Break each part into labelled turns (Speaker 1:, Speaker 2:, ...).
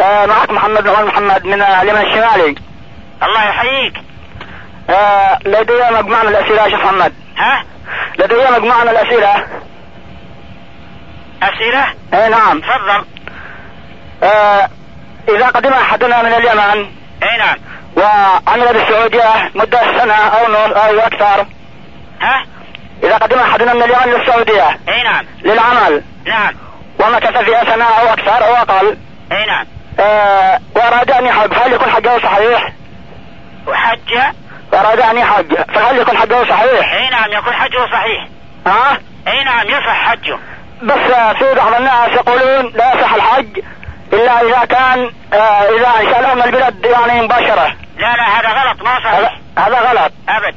Speaker 1: آه معكم محمد عمر محمد من آه، اليمن الشمالي
Speaker 2: الله يحييك
Speaker 1: آه لدي مجموعة من الأسئلة يا شيخ محمد
Speaker 2: ها
Speaker 1: لدي مجموعة من الأسئلة
Speaker 2: أسئلة
Speaker 1: أي نعم
Speaker 2: تفضل
Speaker 1: آه إذا قدم أحدنا من اليمن
Speaker 2: اي نعم
Speaker 1: وعمل بالسعودية مدة سنة أو نص أو أكثر
Speaker 2: ها
Speaker 1: إذا قدم أحدنا من اليمن للسعودية
Speaker 2: اي نعم
Speaker 1: للعمل
Speaker 2: نعم
Speaker 1: ومكث فيها سنة أو أكثر أو أقل
Speaker 2: اي نعم
Speaker 1: آه وأراد أن يحج فهل يكون حجه صحيح؟
Speaker 2: وحج
Speaker 1: وأراد أن يحج فهل يكون حجه صحيح؟
Speaker 2: اي نعم يكون حجه صحيح
Speaker 1: ها؟
Speaker 2: اي نعم يصح حجه
Speaker 1: بس آه، في بعض الناس يقولون لا يصح الحج إلا إذا كان آه إذا سألهم البلد يعني مباشرة
Speaker 2: لا لا هذا غلط ما صحيح
Speaker 1: هذا هذا غلط
Speaker 2: ابد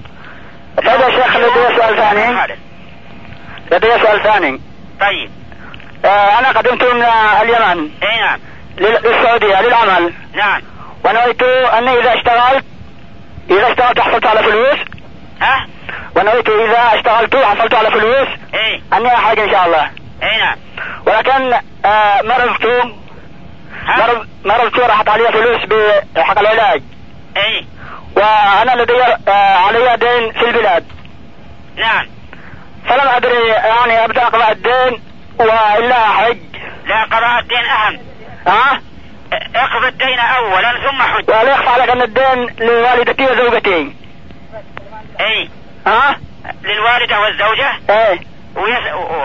Speaker 1: طيب يا شيخ
Speaker 2: آه،
Speaker 1: لدي سؤال ثاني
Speaker 2: خالد.
Speaker 1: لدي سؤال ثاني
Speaker 2: طيب
Speaker 1: آه أنا قدمت من آه، اليمن
Speaker 2: اي نعم
Speaker 1: لل- للسعودية للعمل
Speaker 2: نعم
Speaker 1: ونويت أني إذا اشتغلت إذا اشتغلت حصلت على فلوس
Speaker 2: ها
Speaker 1: ونويت إذا اشتغلت حصلت على فلوس
Speaker 2: اي
Speaker 1: أني أحج إن شاء الله
Speaker 2: اي نعم
Speaker 1: ولكن آه مرضت
Speaker 2: ها
Speaker 1: مرضت راحت علي فلوس بحق العلاج
Speaker 2: اي
Speaker 1: وأنا لدي آه علي دين في البلاد
Speaker 2: نعم
Speaker 1: فلم أدري يعني أبدأ أقضاء الدين وإلا أحج
Speaker 2: لا قضاء الدين اهم
Speaker 1: ها
Speaker 2: اقضي الدين اولا ثم حج
Speaker 1: ولا يخفى عليك أن الدين لوالدتي وزوجتي
Speaker 2: اي
Speaker 1: ها
Speaker 2: للوالده والزوجه
Speaker 1: إيه
Speaker 2: ويس...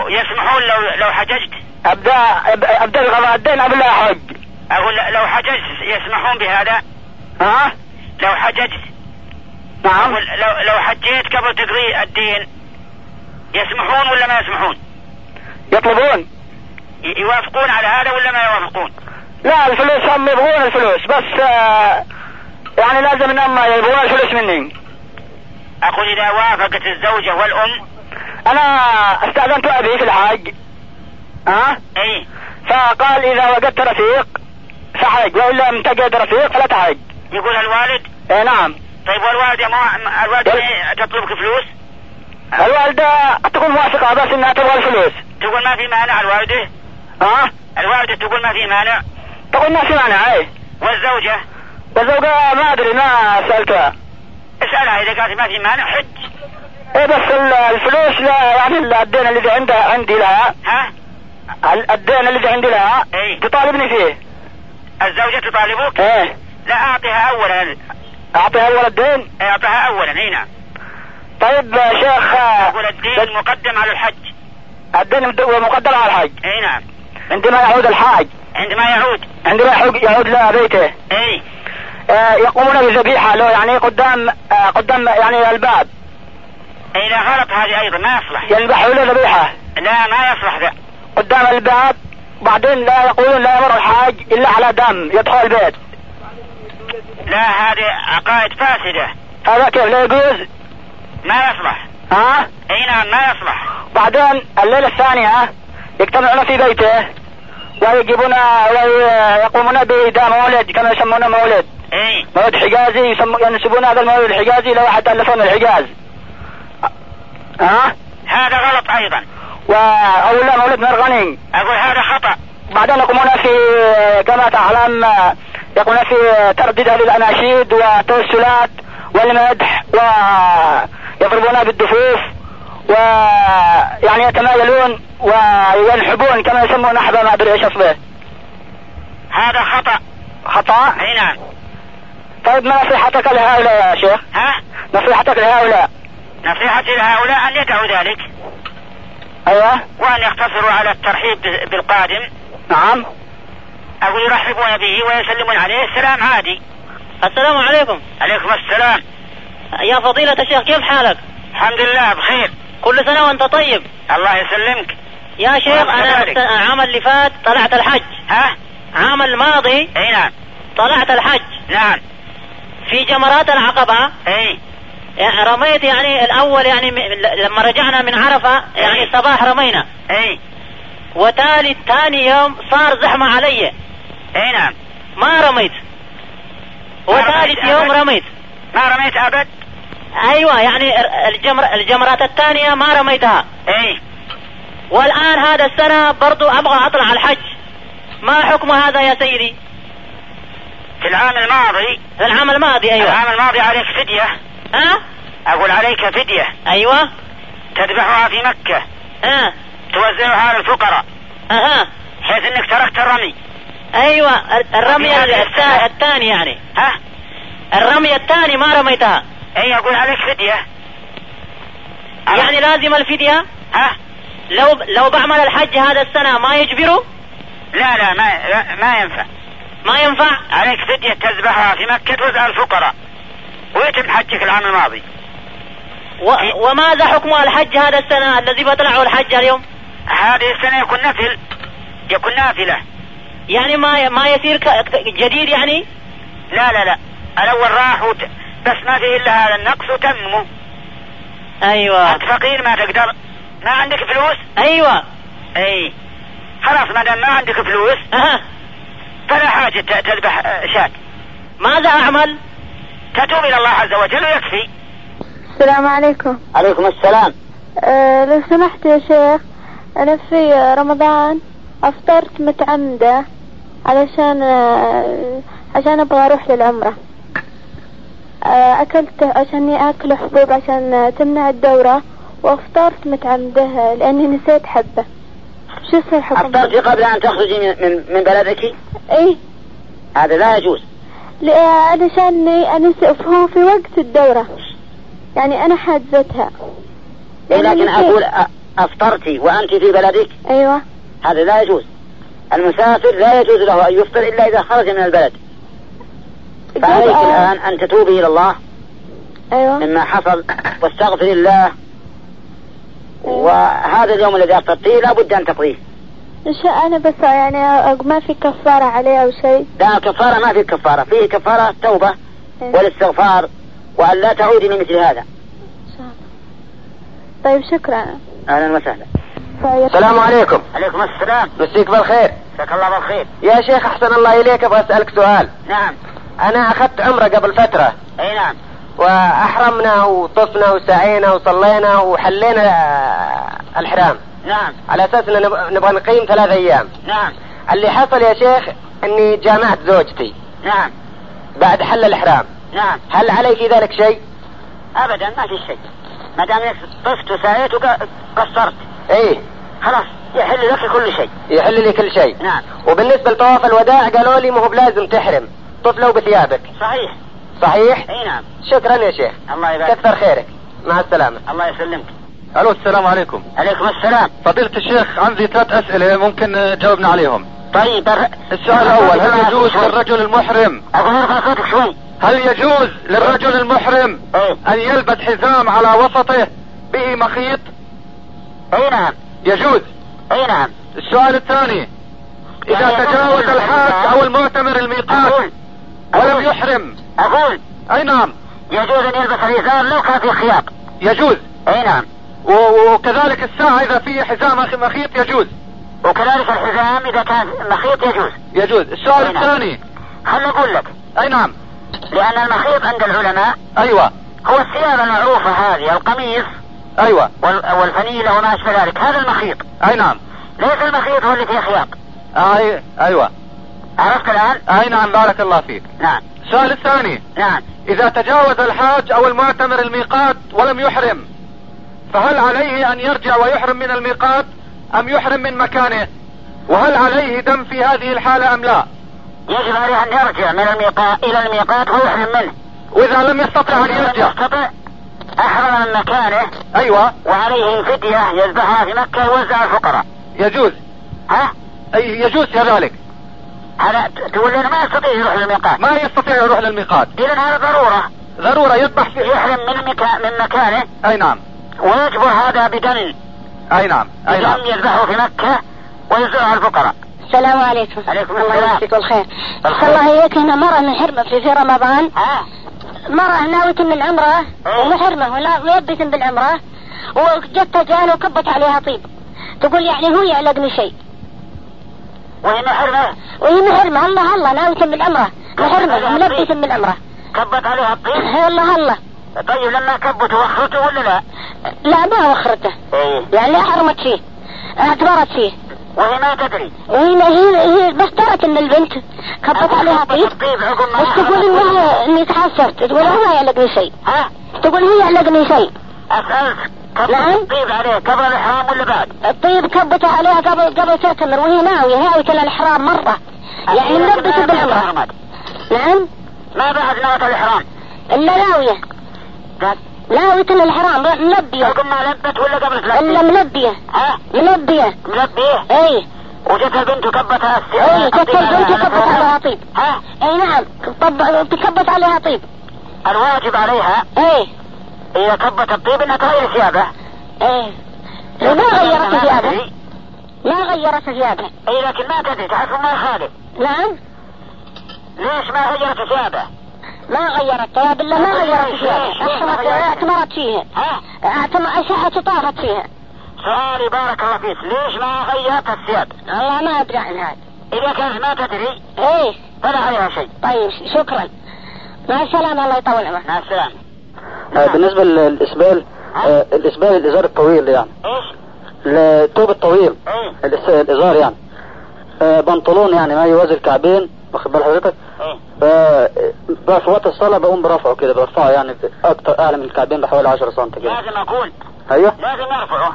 Speaker 2: ويسمحون لو لو حججت
Speaker 1: أبدأ أبدأ بقضاء الدين قبل لا أحج
Speaker 2: اقول لو حججت يسمحون بهذا
Speaker 1: ها
Speaker 2: لو حججت
Speaker 1: نعم
Speaker 2: أقول لو لو حجيت قبل تقضي الدين يسمحون ولا ما يسمحون؟
Speaker 1: يطلبون
Speaker 2: ي- يوافقون على هذا ولا ما يوافقون؟
Speaker 1: لا الفلوس هم يبغون الفلوس بس آه يعني لازم انهم يبغون الفلوس مني
Speaker 2: اقول اذا وافقت الزوجه والام
Speaker 1: انا استاذنت ابي في الحاج ها
Speaker 2: اي
Speaker 1: فقال اذا وجدت رفيق فحج وان لم تجد رفيق فلا تحج
Speaker 2: يقول الوالد
Speaker 1: اي نعم
Speaker 2: طيب والوالده ما الوالده
Speaker 1: إيه.
Speaker 2: ما يعني تطلبك فلوس؟
Speaker 1: الوالدة تكون موافقة بس انها تبغى الفلوس
Speaker 2: تقول ما في مانع الوالده؟
Speaker 1: ها
Speaker 2: الوالده تقول ما في مانع
Speaker 1: تقول ما في مانع اي
Speaker 2: والزوجه
Speaker 1: والزوجة ما ادري ما سألتها
Speaker 2: اسالها اذا قالت ما في مانع حج
Speaker 1: ايه بس ال- الفلوس لا يعني الدين الذي عندها عندي لها
Speaker 2: ها؟
Speaker 1: ال- الدين الذي عندي لها
Speaker 2: إيه.
Speaker 1: تطالبني فيه
Speaker 2: الزوجه تطالبك؟
Speaker 1: ايه
Speaker 2: لا اعطها اولا
Speaker 1: اعطيها اول الدين
Speaker 2: اعطها اولا اي نعم
Speaker 1: طيب يا شيخ آه،
Speaker 2: يقول الدين مقدم على الحج
Speaker 1: الدين مد- مقدر على الحج
Speaker 2: اي نعم
Speaker 1: عندما يعود الحاج
Speaker 2: عندما يعود
Speaker 1: عندما يحج- يعود لبيته
Speaker 2: اي
Speaker 1: آه، يقومون بذبيحة له يعني قدام آه، قدام يعني الباب
Speaker 2: اي لا غلط هذه ايضا ما يصلح
Speaker 1: يذبحوا له ذبيحة
Speaker 2: لا ما يصلح ذا
Speaker 1: قدام الباب بعدين لا يقولون لا يمر الحاج إلا على دم يدخل البيت
Speaker 2: لا هذه عقائد فاسدة
Speaker 1: هذا كيف لا يجوز
Speaker 2: ما يصلح
Speaker 1: ها
Speaker 2: اي نعم ما يصلح
Speaker 1: بعدين الليلة الثانية يجتمعون في بيته ويجيبون ويقومون بإدام مولد كما يسمونه مولد
Speaker 2: اي
Speaker 1: مولد حجازي يسمو ينسبون هذا المولد الحجازي لو حتى ألفون الحجاز ها
Speaker 2: هذا غلط ايضا
Speaker 1: و أو لا مولد مرغني
Speaker 2: اقول هذا خطأ
Speaker 1: بعدين يقومون في كما تعلم يقومون في آه، ترديد هذه الأناشيد والتوسلات والمدح ويضربون بالدفوف ويعني يتمايلون وينحبون كما يسمون نحبة ما أدري إيش أصله
Speaker 2: هذا خطأ
Speaker 1: خطأ
Speaker 2: اي نعم
Speaker 1: طيب ما نصيحتك لهؤلاء يا شيخ
Speaker 2: ها
Speaker 1: نصيحتك لهؤلاء
Speaker 2: نصيحتي لهؤلاء ان يدعوا ذلك
Speaker 1: أيوة
Speaker 2: وان يقتصروا على الترحيب ب- بالقادم
Speaker 1: نعم
Speaker 2: اقول يرحبون به ويسلمون عليه سلام عادي
Speaker 3: السلام عليكم
Speaker 2: عليكم السلام
Speaker 3: يا فضيلة الشيخ كيف حالك؟
Speaker 2: الحمد لله بخير
Speaker 3: كل سنة وأنت طيب
Speaker 2: الله يسلمك
Speaker 3: يا شيخ أنا
Speaker 2: وأنت كذلك.
Speaker 3: الس- العام اللي فات طلعت الحج
Speaker 2: ها
Speaker 3: عام الماضي
Speaker 2: اي نعم
Speaker 3: طلعت الحج
Speaker 2: نعم
Speaker 3: في جمرات العقبة
Speaker 2: اي
Speaker 3: يعني رميت يعني الأول يعني م- ل- لما رجعنا من عرفة يعني الصباح رمينا
Speaker 2: اي
Speaker 3: وتالي ثاني يوم صار زحمة علي
Speaker 2: اي نعم
Speaker 3: ما رميت وثالث يوم رميت
Speaker 2: ما رميت ابد
Speaker 3: أيوة يعني ال- الجمر الجمرات الثانية ما رميتها
Speaker 2: اي
Speaker 3: والآن هذا السنة برضو أبغى أطلع الحج ما حكم هذا يا سيدي
Speaker 2: في العام الماضي
Speaker 3: في العام الماضي ايوه
Speaker 2: العام الماضي عليك فدية
Speaker 3: ها
Speaker 2: أقول عليك فدية
Speaker 3: ايوه
Speaker 2: تذبحها في مكة
Speaker 3: ها
Speaker 2: توزعها على الفقراء
Speaker 3: اها
Speaker 2: حيث أنك تركت الرمي
Speaker 3: ايوه ال- الرمية
Speaker 2: هذه
Speaker 3: التا-
Speaker 2: السنة.
Speaker 3: الثانية يعني
Speaker 2: ها
Speaker 3: الرمية الثانية ما رميتها
Speaker 2: أي أقول عليك فدية أنا-
Speaker 3: يعني لازم الفدية
Speaker 2: ها
Speaker 3: لو لو بعمل الحج هذا السنة ما يجبره
Speaker 2: لا لا ما لا- ما ينفع
Speaker 3: ما ينفع
Speaker 2: عليك فدية تذبحها في مكة توزعها على الفقراء ويتم حجك العام الماضي
Speaker 3: و- وماذا حكم الحج هذا السنة الذي بطلعه الحج اليوم
Speaker 2: هذه السنة يكون نفل يكون نافلة
Speaker 3: يعني ما ما يصير ك- ك- جديد يعني
Speaker 2: لا لا لا الأول راح وت... بس ما فيه إلا هذا النقص وتمه
Speaker 4: آه.
Speaker 3: ايوه
Speaker 2: أنت فقير ما تقدر ما عندك فلوس
Speaker 3: ايوه
Speaker 2: أي خلاص ما دام ما عندك فلوس
Speaker 3: أها.
Speaker 2: فلا حاجة ت- تذبح آه، شاة
Speaker 3: ماذا اعمل
Speaker 2: تتوب إلى الله عز وجل ويكفي
Speaker 5: السلام عليكم
Speaker 4: عليكم السلام
Speaker 5: أه لو سمحت يا شيخ أنا في رمضان أفطرت متعمدة علشان أه عشان أبغى أروح للعمرة أه أكلت عشان أكل حبوب عشان آه، تمنع الدورة وأفطرت متعمدة لأني نسيت حبة شو يصير
Speaker 4: أفطرت
Speaker 5: حكم
Speaker 4: قبل أن تخرجي من من, من بلدك
Speaker 5: إيه
Speaker 4: هذا لا يجوز
Speaker 5: لأ- علشاني أنسى فهو في وقت الدورة يعني أنا حاجزتها لأني
Speaker 4: ولكن
Speaker 5: نسيت.
Speaker 4: أقول أ- أفطرتي وأنت في بلدك
Speaker 5: أيوه
Speaker 4: هذا لا يجوز المسافر لا يجوز له أن يفطر إلا إذا خرج من البلد فعليك
Speaker 5: جزء-
Speaker 4: الآن أن تتوبي إلى الله
Speaker 5: أيوه
Speaker 4: مما حصل واستغفر الله وهذا اليوم الذي أفطرتيه لا بد أن تقضيه
Speaker 5: إن شاء أنا بس يعني أ- ما في كفارة عليه أو شيء
Speaker 4: لا كفارة ما في كفارة فيه كفارة التوبة والاستغفار وأن لا تعودي لمثل هذا
Speaker 5: إن شاء الله. طيب شكرا
Speaker 4: أهلا وسهلا
Speaker 5: طيب.
Speaker 6: السلام عليكم
Speaker 2: عليكم السلام
Speaker 6: مسيك بالخير
Speaker 2: جزاك الله بالخير
Speaker 6: يا شيخ احسن الله اليك ابغى اسالك سؤال
Speaker 2: نعم
Speaker 6: انا اخذت عمره قبل فتره
Speaker 2: أي نعم
Speaker 6: واحرمنا وطفنا وسعينا وصلينا وحلينا آه، الحرام
Speaker 2: نعم
Speaker 6: على اساس ان نب- نبغى نقيم ثلاث ايام
Speaker 2: نعم
Speaker 6: اللي حصل يا شيخ اني جامعت زوجتي
Speaker 2: نعم
Speaker 6: بعد حل الحرام
Speaker 2: نعم
Speaker 6: هل علي في ذلك شيء؟
Speaker 2: أبدا ما في شيء ما دام إنك طفت وسعيت وقصرت
Speaker 6: ايه
Speaker 2: خلاص يحل لك كل شيء
Speaker 6: يحل لي كل شيء
Speaker 2: نعم
Speaker 6: وبالنسبه لطواف الوداع قالوا لي ما هو بلازم تحرم طف لو بثيابك
Speaker 2: صحيح
Speaker 6: صحيح؟
Speaker 2: أي نعم
Speaker 6: شكرا يا شيخ
Speaker 2: الله يبارك
Speaker 6: كثر خيرك مع السلامه
Speaker 2: الله يسلمك
Speaker 1: الو السلام عليكم
Speaker 2: عليكم السلام
Speaker 1: فضيلة الشيخ عندي ثلاث اسئلة ممكن آه، تجاوبنا عليهم
Speaker 2: طيب
Speaker 1: السؤال الاول هل يجوز للرجل المحرم
Speaker 2: أقول ارفع صوتك شوي
Speaker 1: هل يجوز للرجل المحرم
Speaker 2: ايه
Speaker 1: ان يلبس حزام على وسطه به مخيط
Speaker 2: اي نعم
Speaker 1: يجوز
Speaker 2: اي نعم
Speaker 1: السؤال الثاني اذا
Speaker 2: يعني
Speaker 1: تجاوز
Speaker 2: أقول-
Speaker 1: الحاج او المعتمر الميقات
Speaker 2: اقول
Speaker 1: ولم يحرم
Speaker 2: اقول
Speaker 1: اي نعم
Speaker 2: يجوز ان يلبس الازار لو كان في خياط
Speaker 1: يجوز
Speaker 2: اي نعم
Speaker 1: و- وكذلك الساعة اذا فيه حزام أخ- مخيط يجوز
Speaker 2: وكذلك الحزام اذا كان مخيط يجوز
Speaker 1: يجوز السؤال
Speaker 2: أي نعم.
Speaker 1: الثاني
Speaker 2: خلني اقول لك
Speaker 1: اي نعم
Speaker 2: لان المخيط عند العلماء
Speaker 1: ايوه
Speaker 2: هو الثياب المعروفه هذه القميص
Speaker 1: ايوه
Speaker 2: وال- والفنيله وما اشبه ذلك هذا المخيط
Speaker 1: اي نعم
Speaker 2: ليس المخيط هو اللي فيه خياط
Speaker 1: اي ايوه
Speaker 2: عرفت الان؟
Speaker 1: اي نعم بارك الله فيك
Speaker 2: نعم
Speaker 1: السؤال الثاني
Speaker 2: نعم
Speaker 1: اذا تجاوز الحاج او المعتمر الميقات ولم يحرم فهل عليه ان يرجع ويحرم من الميقات ام يحرم من مكانه وهل عليه دم في هذه الحالة ام لا
Speaker 2: يجب عليه ان يرجع من الميقات الى الميقات ويحرم منه
Speaker 1: واذا لم يستطع ان
Speaker 2: إذا لم
Speaker 1: يرجع
Speaker 2: يستطع احرم من مكانه
Speaker 1: ايوه
Speaker 2: وعليه فدية يذبحها في مكة يوزع على الفقراء
Speaker 1: يجوز
Speaker 2: ها
Speaker 1: اي يجوز كذلك
Speaker 2: هذا ت- تقول لي أنا ما يستطيع يروح للميقات
Speaker 1: ما يستطيع يروح للميقات
Speaker 2: إذا هذا ضرورة
Speaker 1: ضرورة يذبح في
Speaker 2: يحرم من مكا... من مكانه
Speaker 1: اي نعم
Speaker 2: ويجبر هذا بدم
Speaker 1: اي نعم اي نعم
Speaker 2: بدم يذبحه في مكة ويوزعه على الفقراء
Speaker 7: السلام عليكم
Speaker 2: عليكم
Speaker 7: الله
Speaker 2: السلام.
Speaker 7: يمسك بالخير
Speaker 2: بالخير.
Speaker 7: الله هيك هنا مرة محرمة في في رمضان
Speaker 2: ها
Speaker 7: مرة ناوية من العمرة
Speaker 2: إيه.
Speaker 7: ومحرمة ولا- ويبت بالعمرة وجت جان وكبت عليها طيب تقول يعني هو يعلقني شيء
Speaker 2: وهي محرمة
Speaker 7: وهي محرمة الله الله ناوية من العمرة محرمة
Speaker 2: عليها طيب.
Speaker 7: ملبسة من العمرة
Speaker 2: كبت عليها الطين
Speaker 7: الله الله
Speaker 2: طيب لما كبت وخرته ولا لا؟
Speaker 7: لا ما وخرته
Speaker 2: ايه
Speaker 7: يعني لا حرمت فيه اعتبرت فيه
Speaker 2: وهي ما تدري
Speaker 8: هي هي هي بس درت ان البنت كبت عليها طيب
Speaker 2: الطيب عقب ما
Speaker 8: بس تقول
Speaker 2: نعرف.
Speaker 8: ان هي اني تعسرت تقول هو ما يعلقني شيء
Speaker 2: ها
Speaker 8: تقول هي يعلقني شيء
Speaker 2: اسالك كبر
Speaker 8: نعم.
Speaker 2: الطيب عليه قبل الحرام ولا بعد؟
Speaker 8: الطيب كبته عليها قبل قبل تعتمر وهي ناويه ناويه على الحرام مره يعني
Speaker 2: الطيب
Speaker 8: ملبسه
Speaker 2: ما بعد
Speaker 8: بالعمره
Speaker 2: الحرام.
Speaker 8: نعم
Speaker 2: ما بعد نوت الحرام
Speaker 8: الا ناويه
Speaker 2: قال
Speaker 8: ناويه على الحرام ملبيه
Speaker 2: عقب ما لبت ولا قبل
Speaker 8: الا
Speaker 2: تلبي؟
Speaker 8: ملبيه
Speaker 2: ها
Speaker 8: ملبيه
Speaker 2: ملبيه
Speaker 8: اي
Speaker 2: وجت البنت وكبتها
Speaker 8: اي كبت إيه، البنت كبت عليها طيب
Speaker 2: ها
Speaker 8: اي نعم طب كبت عليها طيب إيه،
Speaker 2: الواجب عليها
Speaker 8: اي
Speaker 2: اذا كبت الطيب انها تغير ثيابها
Speaker 8: ايه ما غيرت
Speaker 2: ما
Speaker 8: ثيابها
Speaker 2: تدري.
Speaker 8: ما غيرت ثيابها
Speaker 2: اي لكن ما تدري تعرف ما خالد
Speaker 8: نعم
Speaker 2: ليش ما غيرت ثيابها؟
Speaker 8: ما غيرت ثياب الا ما غيرت ثيابها اعتمرت اعتمرت فيها
Speaker 2: ها
Speaker 8: اعتمرت ساعة طافت فيها
Speaker 2: سؤالي بارك الله فيك ليش ما غيرت الثياب؟
Speaker 8: والله ما ادري عن هذا
Speaker 2: اذا كانت ما تدري
Speaker 8: ايه
Speaker 2: فلا عليها شيء
Speaker 8: طيب شكرا مع السلامة الله يطول عمرك
Speaker 2: مع نعم. السلامه
Speaker 1: آه، بالنسبة للإسبال آه، الإسبال الإزار الطويل يعني
Speaker 2: ايش؟
Speaker 1: الثوب الطويل
Speaker 2: ايه
Speaker 1: الإس- الإزار يعني آه، بنطلون يعني ما يوازي الكعبين واخد بال حضرتك
Speaker 2: ايه
Speaker 1: آه، بقى في وقت الصلاة بقوم برفعه كده برفعه يعني أكتر أعلى من الكعبين بحوالي 10 سم كده
Speaker 2: لازم اقول
Speaker 1: أيوه
Speaker 2: لازم ارفعه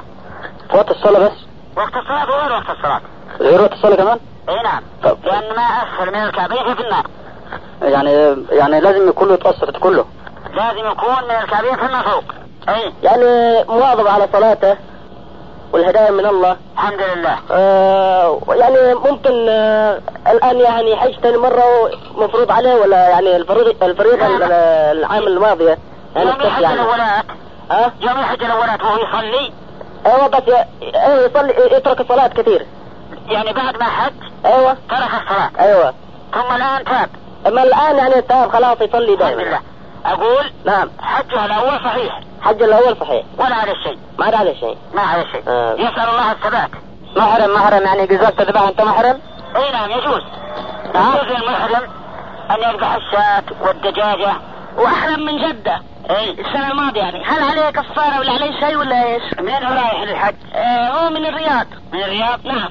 Speaker 1: في وقت الصلاة بس
Speaker 2: وقت الصلاه وغير وقت الصلاه
Speaker 1: غير وقت الصلاة كمان
Speaker 2: اي نعم
Speaker 1: طب.
Speaker 2: لان ما اسفل من الكعبين في النار
Speaker 1: يعني يعني لازم كله يتأثر كله
Speaker 2: لازم يكون من الكعبين فيما فوق اي
Speaker 1: يعني مواظب على صلاته والهداية من الله
Speaker 2: الحمد لله
Speaker 1: آه يعني ممكن آه الآن يعني حج ثاني مرة مفروض عليه ولا يعني الفريضة الفريضة
Speaker 2: لا، لا.
Speaker 1: ال- العام الماضية يعني
Speaker 2: يوم
Speaker 1: الصبح
Speaker 2: يحج
Speaker 1: يعني
Speaker 2: الاولات
Speaker 1: ها؟
Speaker 2: يوم يحج الاولات وهو يصلي
Speaker 1: ايوه بس ي- ايوه يصلي يترك الصلاة كثير
Speaker 2: يعني بعد ما حج
Speaker 1: ايوه
Speaker 2: ترك الصلاه
Speaker 1: ايوه
Speaker 2: ثم الان تاب
Speaker 1: اما الآن يعني التاب خلاص يصلي
Speaker 2: الحمد
Speaker 1: دائما
Speaker 2: لله اقول
Speaker 1: نعم
Speaker 2: حجه الاول صحيح
Speaker 1: حج الأول صحيح
Speaker 2: ولا عليه شيء
Speaker 1: ما عاد عليه شيء
Speaker 2: ما عليه شيء
Speaker 1: آه.
Speaker 2: يسال الله الثبات
Speaker 1: محرم محرم يعني جزاك الذبح انت محرم
Speaker 2: اي نعم يجوز يجوز للمحرم ان يذبح الشاة والدجاجة
Speaker 8: واحرم من جدة
Speaker 2: اي
Speaker 8: السنة الماضية يعني هل عليه كفارة ولا عليه شيء ولا ايش؟
Speaker 2: منين هو رايح للحج؟
Speaker 8: آه هو من الرياض
Speaker 2: من الرياض؟
Speaker 8: نعم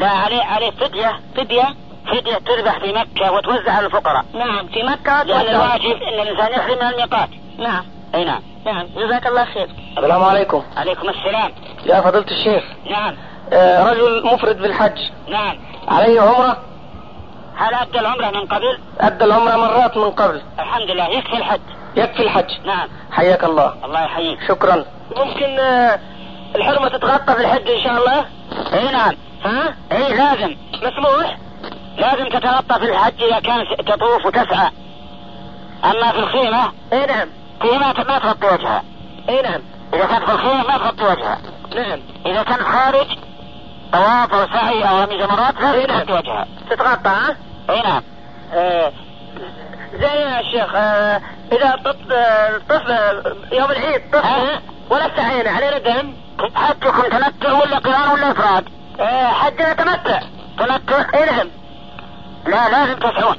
Speaker 2: لا عليه عليه فدية
Speaker 8: فدية
Speaker 2: فدية تذبح في مكة وتوزع على الفقراء
Speaker 8: نعم في مكة
Speaker 2: لأن
Speaker 8: ولا
Speaker 2: الواجب أن الإنسان يحرم من الميقات
Speaker 8: نعم
Speaker 2: أي نعم
Speaker 8: نعم جزاك الله خير
Speaker 1: السلام عليكم
Speaker 2: عليكم السلام
Speaker 1: يا فضيلة الشيخ
Speaker 2: نعم
Speaker 1: آه، رجل مفرد بالحج
Speaker 2: نعم
Speaker 1: عليه عمرة
Speaker 2: هل أدى العمرة من قبل؟
Speaker 1: أدى العمرة مرات من قبل
Speaker 2: الحمد لله يكفي الحج
Speaker 1: يكفي الحج
Speaker 2: نعم
Speaker 1: حياك الله
Speaker 2: الله يحييك
Speaker 1: شكرا
Speaker 2: ممكن آه، الحرمة تتغطى في الحج إن شاء الله؟ أي نعم ها؟ أي لازم مسموح لازم تتغطى في الحج إذا كان تطوف وتسعى أما في الخيمة
Speaker 1: اي نعم
Speaker 2: فيما ما تغطي وجهها
Speaker 1: اي نعم
Speaker 2: إذا كانت في الخيمة ما تغطي وجهها
Speaker 1: نعم
Speaker 2: إذا كان خارج طواف أو سعي أو رمي جمرات لا
Speaker 1: إيه نعم.
Speaker 2: تغطي وجهها
Speaker 1: تتغطى ها
Speaker 2: أي نعم
Speaker 1: زي يا شيخ آه، اذا طفل آه، طفل آه، يوم العيد
Speaker 2: ها؟
Speaker 1: طفل ولا استعينا علينا دم
Speaker 2: حجكم تمتع ولا قران ولا إفراد؟
Speaker 1: آه، حجنا تمتع
Speaker 2: تمتع؟
Speaker 1: اي نعم
Speaker 2: لا لازم تسعون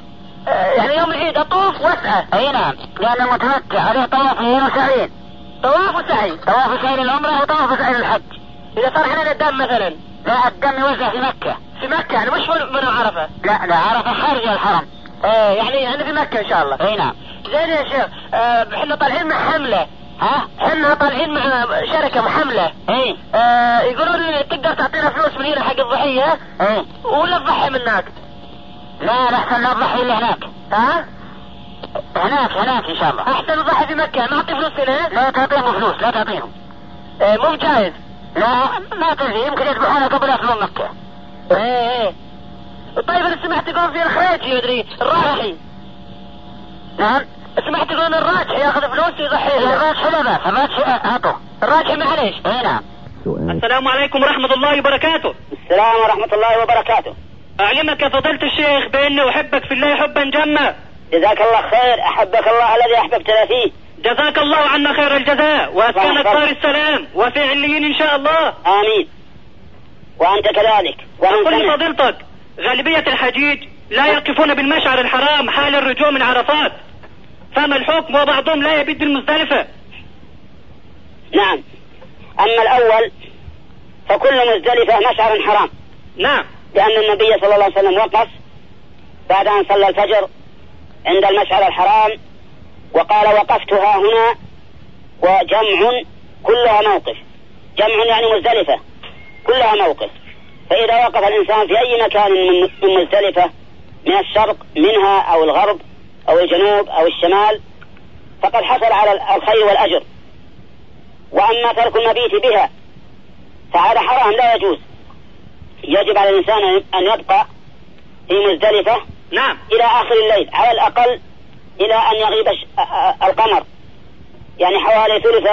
Speaker 1: آه، يعني يوم العيد اطوف واسعى
Speaker 2: أي نعم لأن المتمتع عليه طوافين وسعيين
Speaker 1: طواف وسعي
Speaker 2: طواف سعي العمرة وطواف سعي الحج
Speaker 1: اذا صار علينا الدم مثلا
Speaker 2: لا الدم يوزع في مكة
Speaker 1: في مكه يعني مش من من عرفه
Speaker 2: لا لا عرفة خارج الحرم
Speaker 1: آه، يعني يعني في مكه ان شاء الله
Speaker 2: أي نعم
Speaker 1: زين يا شيخ آه، احنا طالعين مع حمله
Speaker 2: ها؟ إيه.
Speaker 1: احنا طالعين مع شركه محمله
Speaker 2: أي
Speaker 1: آه، يقولوا لي تقدر تعطينا فلوس من هنا حق الضحيه
Speaker 2: أي
Speaker 1: ولا تضحي من هناك
Speaker 2: لا لا أحسن لا أضحي إلا هناك
Speaker 1: ها
Speaker 2: هناك هناك إن شاء الله
Speaker 1: احسن نضحي في مكه نعطي فلوس هنا
Speaker 2: لا تعطيهم فلوس لا تعطيهم
Speaker 1: آه، مو جايز
Speaker 2: لا ما تدري يمكن يذبحونها قبل يصلون مكة
Speaker 1: ايه ايه طيب انا سمعت يقولون في الخريجي مدري الراجحي
Speaker 2: نعم
Speaker 1: سمعت يقولون الراجحي ياخذ فلوس ويضحي هنا.
Speaker 2: الراس حلو بس الراس هاتوا
Speaker 1: الراجحي معليش
Speaker 2: اي نعم
Speaker 9: السلام عليكم ورحمة الله وبركاته
Speaker 2: السلام ورحمة الله وبركاته
Speaker 9: أعلمك يا فضيلة الشيخ بأني أحبك في الله حبا جما
Speaker 2: جزاك الله خير أحبك الله الذي أحببتنا فيه
Speaker 9: جزاك الله عنا خير الجزاء وأسكنك
Speaker 2: الله
Speaker 9: دار
Speaker 2: يحفظك.
Speaker 9: السلام وفي عليين إن شاء الله
Speaker 2: آمين وأنت كذلك وأنت
Speaker 9: قل
Speaker 2: نعم.
Speaker 9: لفضيلتك غالبية الحجيج لا يقفون بالمشعر الحرام حال الرجوع من عرفات فما الحكم وبعضهم لا يبيت بالمزدلفة
Speaker 2: نعم أما الأول فكل مزدلفة مشعر حرام نعم
Speaker 9: لأن النبي صلى الله عليه وسلم وقف بعد أن صلى الفجر عند المشعر الحرام وقال وقفت ها هنا وجمع كلها موقف جمع يعني مزدلفة كلها موقف فإذا وقف الإنسان في أي مكان من من مزدلفة من الشرق منها أو الغرب أو الجنوب أو الشمال فقد حصل على الخير والأجر وأما ترك المبيت بها فهذا حرام لا يجوز يجب على الإنسان أن يبقى في مزدلفة
Speaker 2: نعم
Speaker 9: إلى آخر الليل على الأقل إلى أن يغيب الش- أ- أ- القمر يعني حوالي ثلث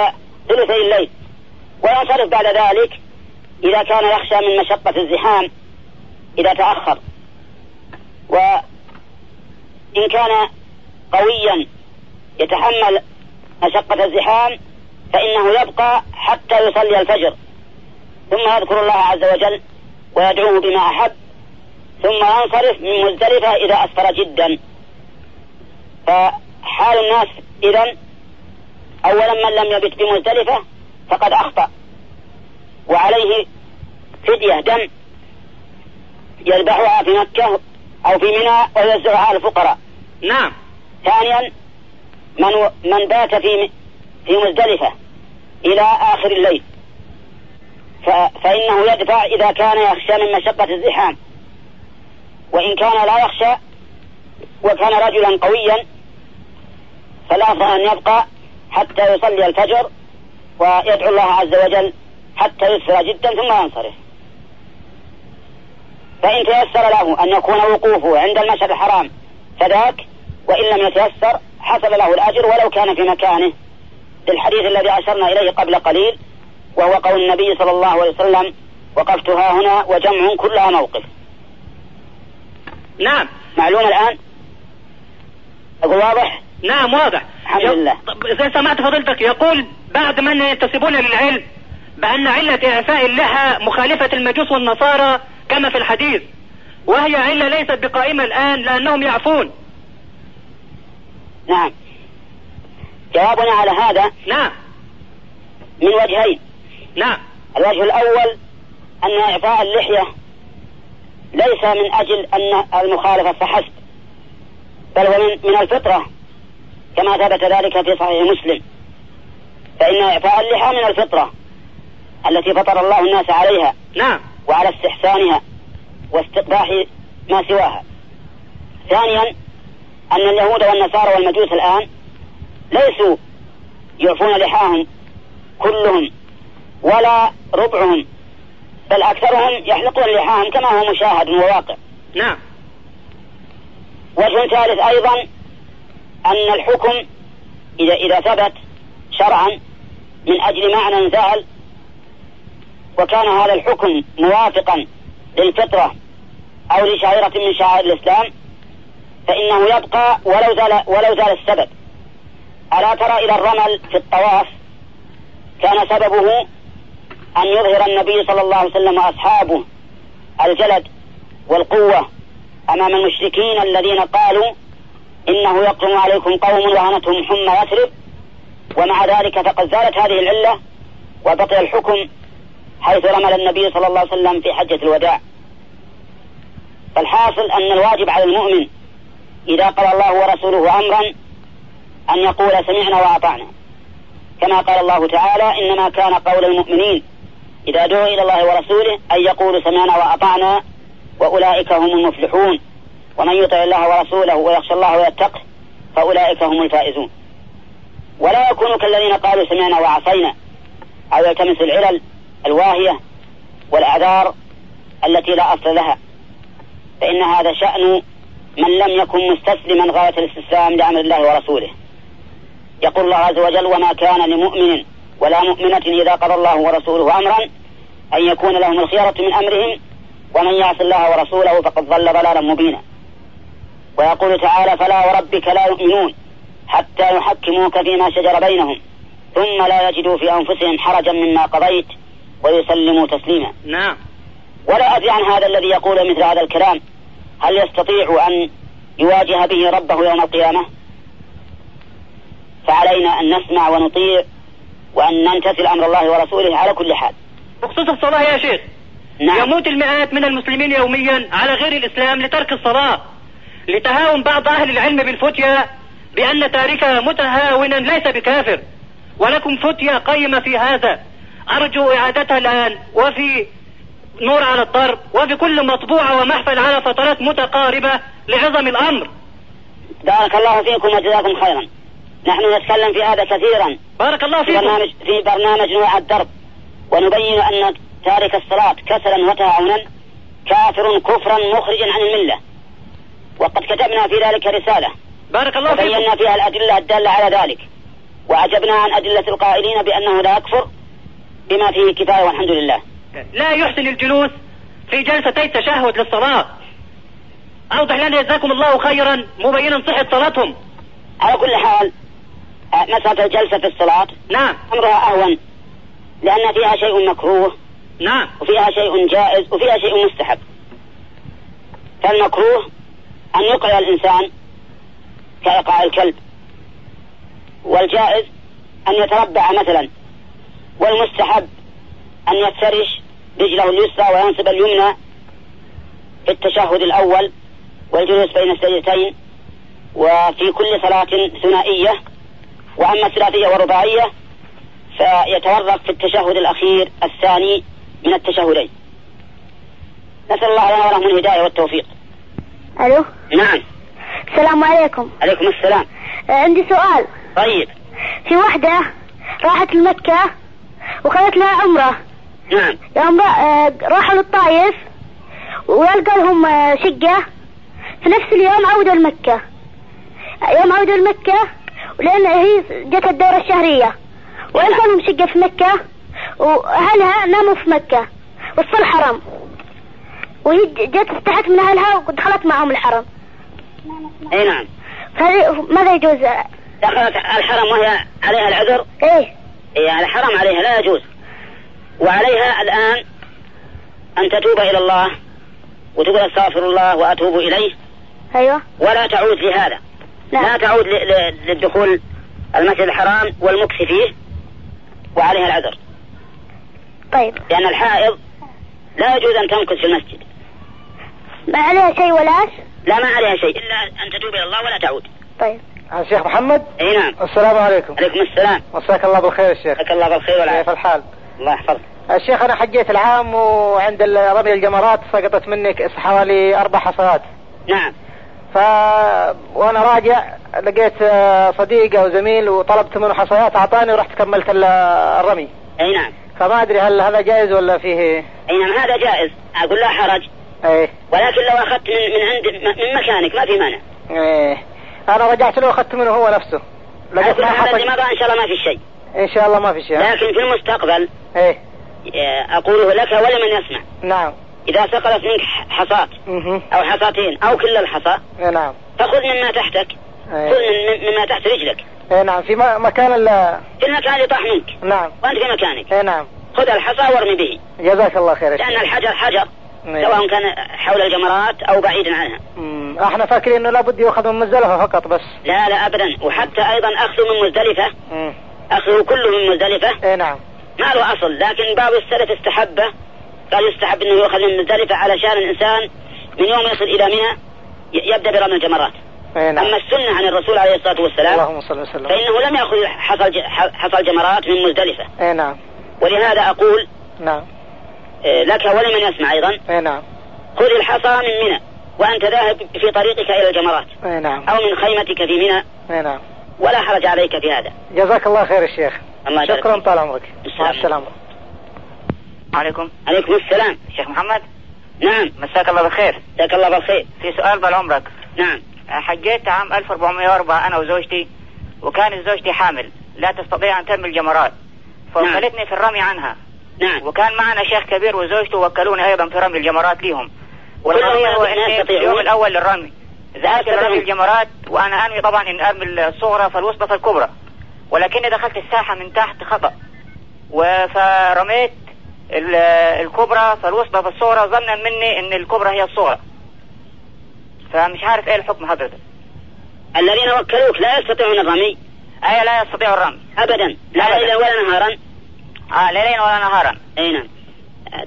Speaker 9: ثلثي الليل وينصرف بعد ذلك إذا كان يخشى من مشقة الزحام إذا تأخر وإن كان قويا يتحمل مشقة الزحام فإنه يبقى حتى يصلي الفجر ثم يذكر الله عز وجل ويدعوه بما أحب ثم ينصرف من مزدلفة إذا أسفر جدا فحال الناس إذا أولا من لم يبت بمزدلفة فقد أخطأ وعليه فدية دم يذبحها في مكة أو في منى ويوزعها على الفقراء
Speaker 2: نعم
Speaker 9: ثانيا من و... من بات في في مزدلفة إلى آخر الليل ف... فإنه يدفع إذا كان يخشى من مشقة الزحام وإن كان لا يخشى وكان رجلا قويا فالأفضل أن يبقى حتى يصلي الفجر ويدعو الله عز وجل حتى يسفر جدا ثم ينصرف فإن تيسر له أن يكون وقوفه عند المشهد الحرام فذاك وإن لم يتيسر حصل له الأجر ولو كان في مكانه للحديث الذي أشرنا إليه قبل قليل وهو قول النبي صلى الله عليه وسلم وقفت ها هنا وجمع كلها موقف
Speaker 2: نعم
Speaker 9: معلوم الآن أقول واضح
Speaker 2: نعم واضح
Speaker 9: الحمد
Speaker 2: يق-
Speaker 9: لله.
Speaker 2: طب إذا سمعت فضيلتك يقول بعد من ينتسبون للعلم بأن علة إعفاء اللحى مخالفة المجوس والنصارى كما في الحديث وهي علة ليست بقائمة الآن لأنهم يعفون
Speaker 9: نعم جوابنا على هذا
Speaker 2: نعم
Speaker 9: من وجهين
Speaker 2: نعم
Speaker 9: الوجه الأول أن إعفاء اللحية ليس من أجل أن المخالفة فحسب بل هو من- من الفطرة كما ثبت ذلك في صحيح مسلم فإن إعفاء اللحى من الفطرة التي فطر الله الناس عليها
Speaker 2: نعم
Speaker 9: وعلى استحسانها واستقباح ما سواها ثانيا أن اليهود والنصارى والمجوس الآن ليسوا يعفون لحاهم كلهم ولا ربعهم بل أكثرهم يحلقون لحاهم كما هو مشاهد وواقع
Speaker 2: نعم
Speaker 9: وجه ثالث أيضا أن الحكم إذا إذا ثبت شرعا من أجل معنى زال وكان هذا الحكم موافقا للفطرة أو لشعيرة من شعائر الإسلام فإنه يبقى ولو زال ولو زال السبب ألا ترى إلى الرمل في الطواف كان سببه أن يظهر النبي صلى الله عليه وسلم وأصحابه الجلد والقوة أمام المشركين الذين قالوا إنه يقدم عليكم قوم وهنتهم حمى يثرب ومع ذلك فقد زالت هذه العلة وبقي الحكم حيث رمل النبي صلى الله عليه وسلم في حجة الوداع فالحاصل أن الواجب على المؤمن إذا قال الله ورسوله أمرا أن يقول سمعنا وأطعنا كما قال الله تعالى إنما كان قول المؤمنين إذا دعوا إلى الله ورسوله أن يقولوا سمعنا وأطعنا وأولئك هم المفلحون ومن يطع الله ورسوله ويخشى الله ويتقه فأولئك هم الفائزون ولا يكون كالذين قالوا سمعنا وعصينا أو يلتمسوا العلل الواهية والأعذار التي لا أصل لها فإن هذا شأن من لم يكن مستسلما غاية الاستسلام لأمر الله ورسوله يقول الله عز وجل وما كان لمؤمن ولا مؤمنة إذا قضى الله ورسوله أمرا أن يكون لهم الخيرة من أمرهم ومن يعص الله ورسوله فقد ضل ضلالا مبينا ويقول تعالى فلا وربك لا يؤمنون حتى يحكموك فيما شجر بينهم ثم لا يجدوا في أنفسهم حرجا مما قضيت ويسلموا تسليما
Speaker 2: نعم
Speaker 9: ولا أدري عن هذا الذي يقول مثل هذا الكلام هل يستطيع أن يواجه به ربه يوم القيامة فعلينا أن نسمع ونطيع وأن نمتثل أمر الله ورسوله على كل حال
Speaker 2: بخصوص الصلاة يا شيخ
Speaker 9: نعم.
Speaker 3: يموت المئات من المسلمين يوميا على غير الإسلام لترك الصلاة لتهاون بعض أهل العلم بالفتية بأن تاركها متهاونا ليس بكافر ولكم فتية قيمة في هذا أرجو إعادتها الآن وفي نور على الضرب وفي كل مطبوعة ومحفل على فترات متقاربة لعظم الأمر
Speaker 9: بارك الله فيكم وجزاكم خيرا نحن نتكلم في هذا كثيرا
Speaker 3: بارك الله
Speaker 9: في
Speaker 3: فيكم
Speaker 9: برنامج في برنامج نوع الدرب ونبين ان تارك الصلاه كسلا وتهاونا كافر كفرا مخرجا عن المله وقد كتبنا في ذلك رساله
Speaker 3: بارك الله فيكم
Speaker 9: وبينا فيها الادله الداله على ذلك واجبنا عن ادله القائلين بانه لا يكفر بما فيه كفايه والحمد لله
Speaker 3: لا يحسن الجلوس في جلستي تشهد للصلاة أوضح لنا جزاكم الله خيرا مبينا صحة صلاتهم
Speaker 9: على كل حال آه، مساله الجلسه في الصلاه
Speaker 3: نعم
Speaker 9: امرها اهون لان فيها شيء مكروه
Speaker 3: نعم
Speaker 9: وفيها شيء جائز وفيها شيء مستحب فالمكروه أن يقع الإنسان كإيقاع الكلب والجائز أن يتربع مثلا والمستحب أن يفترش رجله اليسرى وينصب اليمنى في التشهد الأول والجلوس بين السجدتين وفي كل صلاة ثنائية وأما الثلاثية والرباعية فيتورط في التشهد الأخير الثاني من التشهدين نسأل الله لنا ولهم الهداية والتوفيق
Speaker 8: الو
Speaker 9: نعم
Speaker 8: السلام عليكم
Speaker 9: عليكم السلام
Speaker 8: آه، عندي سؤال
Speaker 9: طيب
Speaker 8: في وحدة راحت لمكة وخذت لها عمرة
Speaker 9: نعم
Speaker 8: يوم را- آه، راحوا للطايف ولقى لهم آه، شقة في نفس اليوم عودوا لمكة يوم عودوا لمكة لأن هي جت الدورة الشهرية وألقى لهم شقة في مكة وأهلها ناموا في مكة وسط الحرم وهي ج- جت استحت من أهلها ودخلت معهم الحرم
Speaker 9: اي نعم
Speaker 8: فهذه ماذا يجوز آه،
Speaker 9: دخلت الحرم وهي عليها العذر
Speaker 8: إيه
Speaker 9: إيه الحرم عليها لا يجوز وعليها الآن أن تتوب إلى الله وتقول استغفر الله وأتوب إليه
Speaker 8: أيوه
Speaker 9: ولا تعود لهذا لا
Speaker 8: نعم
Speaker 9: تعود ل- ل- للدخول المسجد الحرام والمكس فيه وعليها العذر
Speaker 8: طيب
Speaker 9: لأن الحائض لا يجوز أن تمكث في المسجد
Speaker 8: ما عليها شيء ولاش
Speaker 9: لا ما عليها شيء إلا أن تتوب إلى الله ولا تعود
Speaker 8: طيب
Speaker 1: الشيخ أه، محمد
Speaker 9: أي نعم
Speaker 1: السلام عليكم
Speaker 9: عليكم السلام
Speaker 1: مساك الله بالخير يا شيخ
Speaker 9: جزاك الله بالخير
Speaker 1: كيف
Speaker 9: والعافية
Speaker 1: الحال؟
Speaker 9: الله يحفظك
Speaker 1: الشيخ انا حجيت العام وعند ال- رمي الجمرات سقطت مني كأس حوالي اربع حصوات
Speaker 9: نعم
Speaker 1: ف وانا راجع لقيت آه، صديق او زميل وطلبت منه حصيات اعطاني ورحت كملت ال- الرمي
Speaker 9: اي نعم
Speaker 1: فما ادري هل هذا جائز ولا فيه
Speaker 9: اي نعم هذا جائز اقول لا حرج
Speaker 1: ايه
Speaker 9: ولكن لو اخذت من من عند م- من مكانك ما في مانع
Speaker 1: ايه انا رجعت له واخذت منه هو نفسه لقيت
Speaker 9: اقول
Speaker 1: ما
Speaker 9: هذا
Speaker 1: حصل
Speaker 9: اللي مضى ان شاء الله ما في شيء
Speaker 1: ان شاء الله ما في شيء
Speaker 9: لكن في المستقبل
Speaker 1: ايه
Speaker 9: آه، اقوله لك ولمن يسمع
Speaker 1: نعم
Speaker 9: اذا سقطت منك ح- حصاة
Speaker 1: مهم.
Speaker 9: او حصاتين او كل الحصى
Speaker 1: ايه نعم
Speaker 9: فخذ مما تحتك خذ
Speaker 1: ايه,
Speaker 9: من من- مما تحت رجلك
Speaker 1: إيه نعم في م- مكان ال-
Speaker 9: في المكان اللي طاح منك
Speaker 1: نعم
Speaker 9: وانت في مكانك
Speaker 1: ايه نعم
Speaker 9: خذ الحصى وارمي به
Speaker 1: جزاك الله خير يا شيخ
Speaker 9: لان الحجر حجر
Speaker 1: إيه.
Speaker 9: سواء كان حول الجمرات او بعيدا عنها
Speaker 1: مم، احنا فاكرين انه لابد يؤخذ من مزدلفه فقط بس
Speaker 9: لا لا ابدا وحتى ايضا اخذه من مزدلفه
Speaker 1: مم.
Speaker 9: اخذه كله من مزدلفه
Speaker 1: ايه نعم
Speaker 9: ما له اصل لكن بعض السلف استحبه قال يستحب انه يؤخذ من مزدلفه علشان الانسان من يوم يصل الى منى ي- يبدا برمي الجمرات
Speaker 1: ايه نعم
Speaker 9: اما السنه عن الرسول عليه الصلاه والسلام
Speaker 1: اللهم صل وسلم
Speaker 9: فانه لم ياخذ حصى الج- ح- حصى الجمرات من مزدلفه
Speaker 1: ايه نعم
Speaker 9: ولهذا اقول
Speaker 1: نعم
Speaker 9: آه، لك ولمن يسمع ايضا
Speaker 1: ايه نعم
Speaker 9: خذ الحصى من منى وانت ذاهب في طريقك الى الجمرات
Speaker 1: ايه نعم
Speaker 9: او من خيمتك في منى
Speaker 1: ايه نعم
Speaker 9: ولا حرج عليك في هذا
Speaker 1: جزاك الله خير يا شيخ
Speaker 9: الله يبارك
Speaker 1: شكرا
Speaker 9: فيك.
Speaker 1: طال عمرك مع السلامه
Speaker 2: عليكم
Speaker 9: عليكم السلام
Speaker 2: شيخ محمد
Speaker 9: نعم
Speaker 2: مساك الله بالخير
Speaker 9: جزاك الله بالخير
Speaker 2: في سؤال بال عمرك
Speaker 9: نعم
Speaker 2: حجيت عام 1404 انا وزوجتي وكانت زوجتي حامل لا تستطيع ان ترمي الجمرات فوكلتني في الرمي عنها
Speaker 9: نعم
Speaker 2: وكان معنا شيخ كبير وزوجته وكلوني ايضا في رمي الجمرات ليهم والقضيه
Speaker 9: منهم
Speaker 2: هو
Speaker 9: لا
Speaker 2: اني في
Speaker 9: يستطيعون.
Speaker 2: اليوم الاول للرمي ذهبت
Speaker 9: يستطيعون.
Speaker 2: لرمي الجمرات وانا انوي طبعا ان ارمي الصغرى فالوسطى فالكبرى ولكني دخلت الساحه من تحت خطا و- فرميت ال- الكبرى فالوسطى فالصغرى ظنا مني ان الكبرى هي الصغرى فمش عارف ايه الحكم حضرتك
Speaker 9: الذين وكلوك لا يستطيعون الرمي
Speaker 2: اي لا يستطيع الرمي
Speaker 9: ابدا لا
Speaker 2: أبداً.
Speaker 9: ليلا ولا نهارا
Speaker 2: آه ليلا ولا نهارا
Speaker 9: اي نعم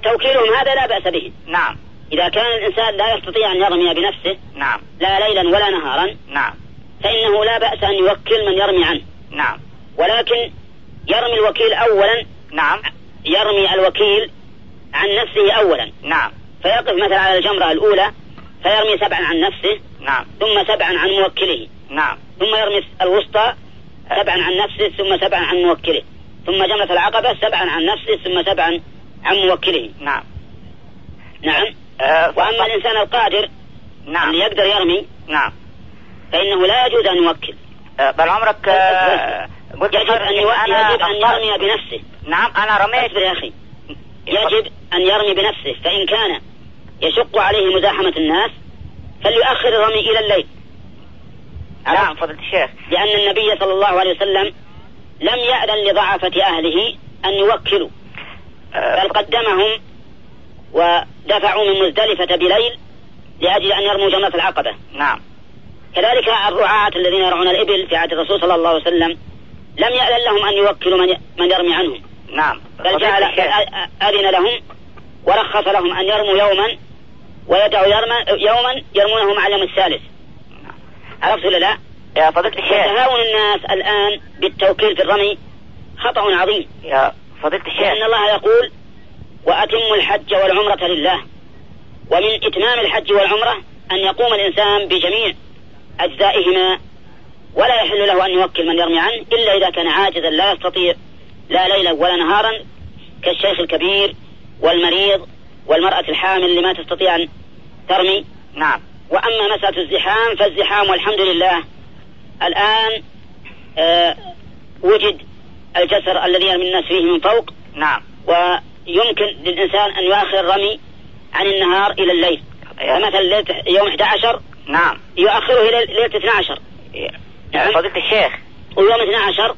Speaker 9: توكيلهم هذا لا بأس به
Speaker 2: نعم
Speaker 9: إذا كان الإنسان لا يستطيع أن يرمي بنفسه
Speaker 2: نعم
Speaker 9: لا ليلا ولا نهارا
Speaker 2: نعم
Speaker 9: فإنه لا بأس أن يوكل من يرمي عنه
Speaker 2: نعم
Speaker 9: ولكن يرمي الوكيل أولا
Speaker 2: نعم
Speaker 9: يرمي الوكيل عن نفسه أولا
Speaker 2: نعم
Speaker 9: فيقف مثلا على الجمرة الأولى فيرمي سبعا عن نفسه
Speaker 2: نعم
Speaker 9: ثم سبعا عن موكله
Speaker 2: نعم
Speaker 9: ثم يرمي الوسطى سبعا عن نفسه ثم سبعا عن موكله ثم جمرة العقبة سبعا عن نفسه ثم سبعا عن موكله
Speaker 2: نعم
Speaker 9: نعم
Speaker 2: آه،
Speaker 9: وأما الإنسان القادر
Speaker 2: نعم
Speaker 9: اللي يقدر يرمي
Speaker 2: نعم
Speaker 9: فإنه لا يجوز أن يوكل
Speaker 2: آه، بل عمرك آه، قلت
Speaker 9: يجب
Speaker 2: حضرتك
Speaker 9: أن يوكل
Speaker 2: أنا
Speaker 9: يجب أن
Speaker 2: أخطأت.
Speaker 9: يرمي بنفسه
Speaker 2: نعم أنا رميت
Speaker 9: اصبر يا أخي يجب أن يرمي بنفسه فإن كان يشق عليه مزاحمة الناس فليؤخر الرمي إلى الليل
Speaker 2: نعم فضيلة الشيخ
Speaker 9: لأن النبي صلى الله عليه وسلم لم يأذن لضعفة أهله أن يوكلوا
Speaker 2: آه،
Speaker 9: بل قدمهم ودفعوا من مزدلفة بليل لأجل أن يرموا جمرة العقبة
Speaker 2: نعم
Speaker 9: كذلك الرعاة الذين يرعون الإبل في عهد الرسول صلى الله عليه وسلم لم يأذن لهم أن يوكلوا من من يرمي عنهم
Speaker 2: نعم
Speaker 9: بل
Speaker 2: فضيلة
Speaker 9: جعل
Speaker 2: الشيخ.
Speaker 9: بل أ- أذن لهم ورخص لهم أن يرموا يوما ويدعوا يرمى يوما يرمونه مع اليوم الثالث عرفت ولا لا؟
Speaker 2: يا فضيلة الشيخ
Speaker 9: وتهاون الناس الآن بالتوكيل في الرمي خطأ عظيم
Speaker 2: يا فضيلة
Speaker 9: لأن
Speaker 2: الشيخ
Speaker 9: الله يقول وأتموا الحج والعمرة لله ومن إتمام الحج والعمرة أن يقوم الإنسان بجميع أجزائهما ولا يحل له أن يوكل من يرمي عنه إلا إذا كان عاجزا لا يستطيع لا ليلا ولا نهارا كالشيخ الكبير والمريض والمرأة الحامل اللي ما تستطيع أن ترمي
Speaker 2: نعم
Speaker 9: وأما مسألة الزحام فالزحام والحمد لله الآن آه وجد الجسر الذي يرمي الناس فيه من فوق
Speaker 2: نعم
Speaker 9: ويمكن للإنسان أن يؤخر الرمي عن النهار إلى الليل
Speaker 2: يا-
Speaker 9: فمثلا ليلة يوم 11
Speaker 2: نعم
Speaker 9: يؤخره إلى ليلة 12
Speaker 2: يا-
Speaker 9: نعم.
Speaker 2: فضيلة الشيخ
Speaker 9: ويوم 12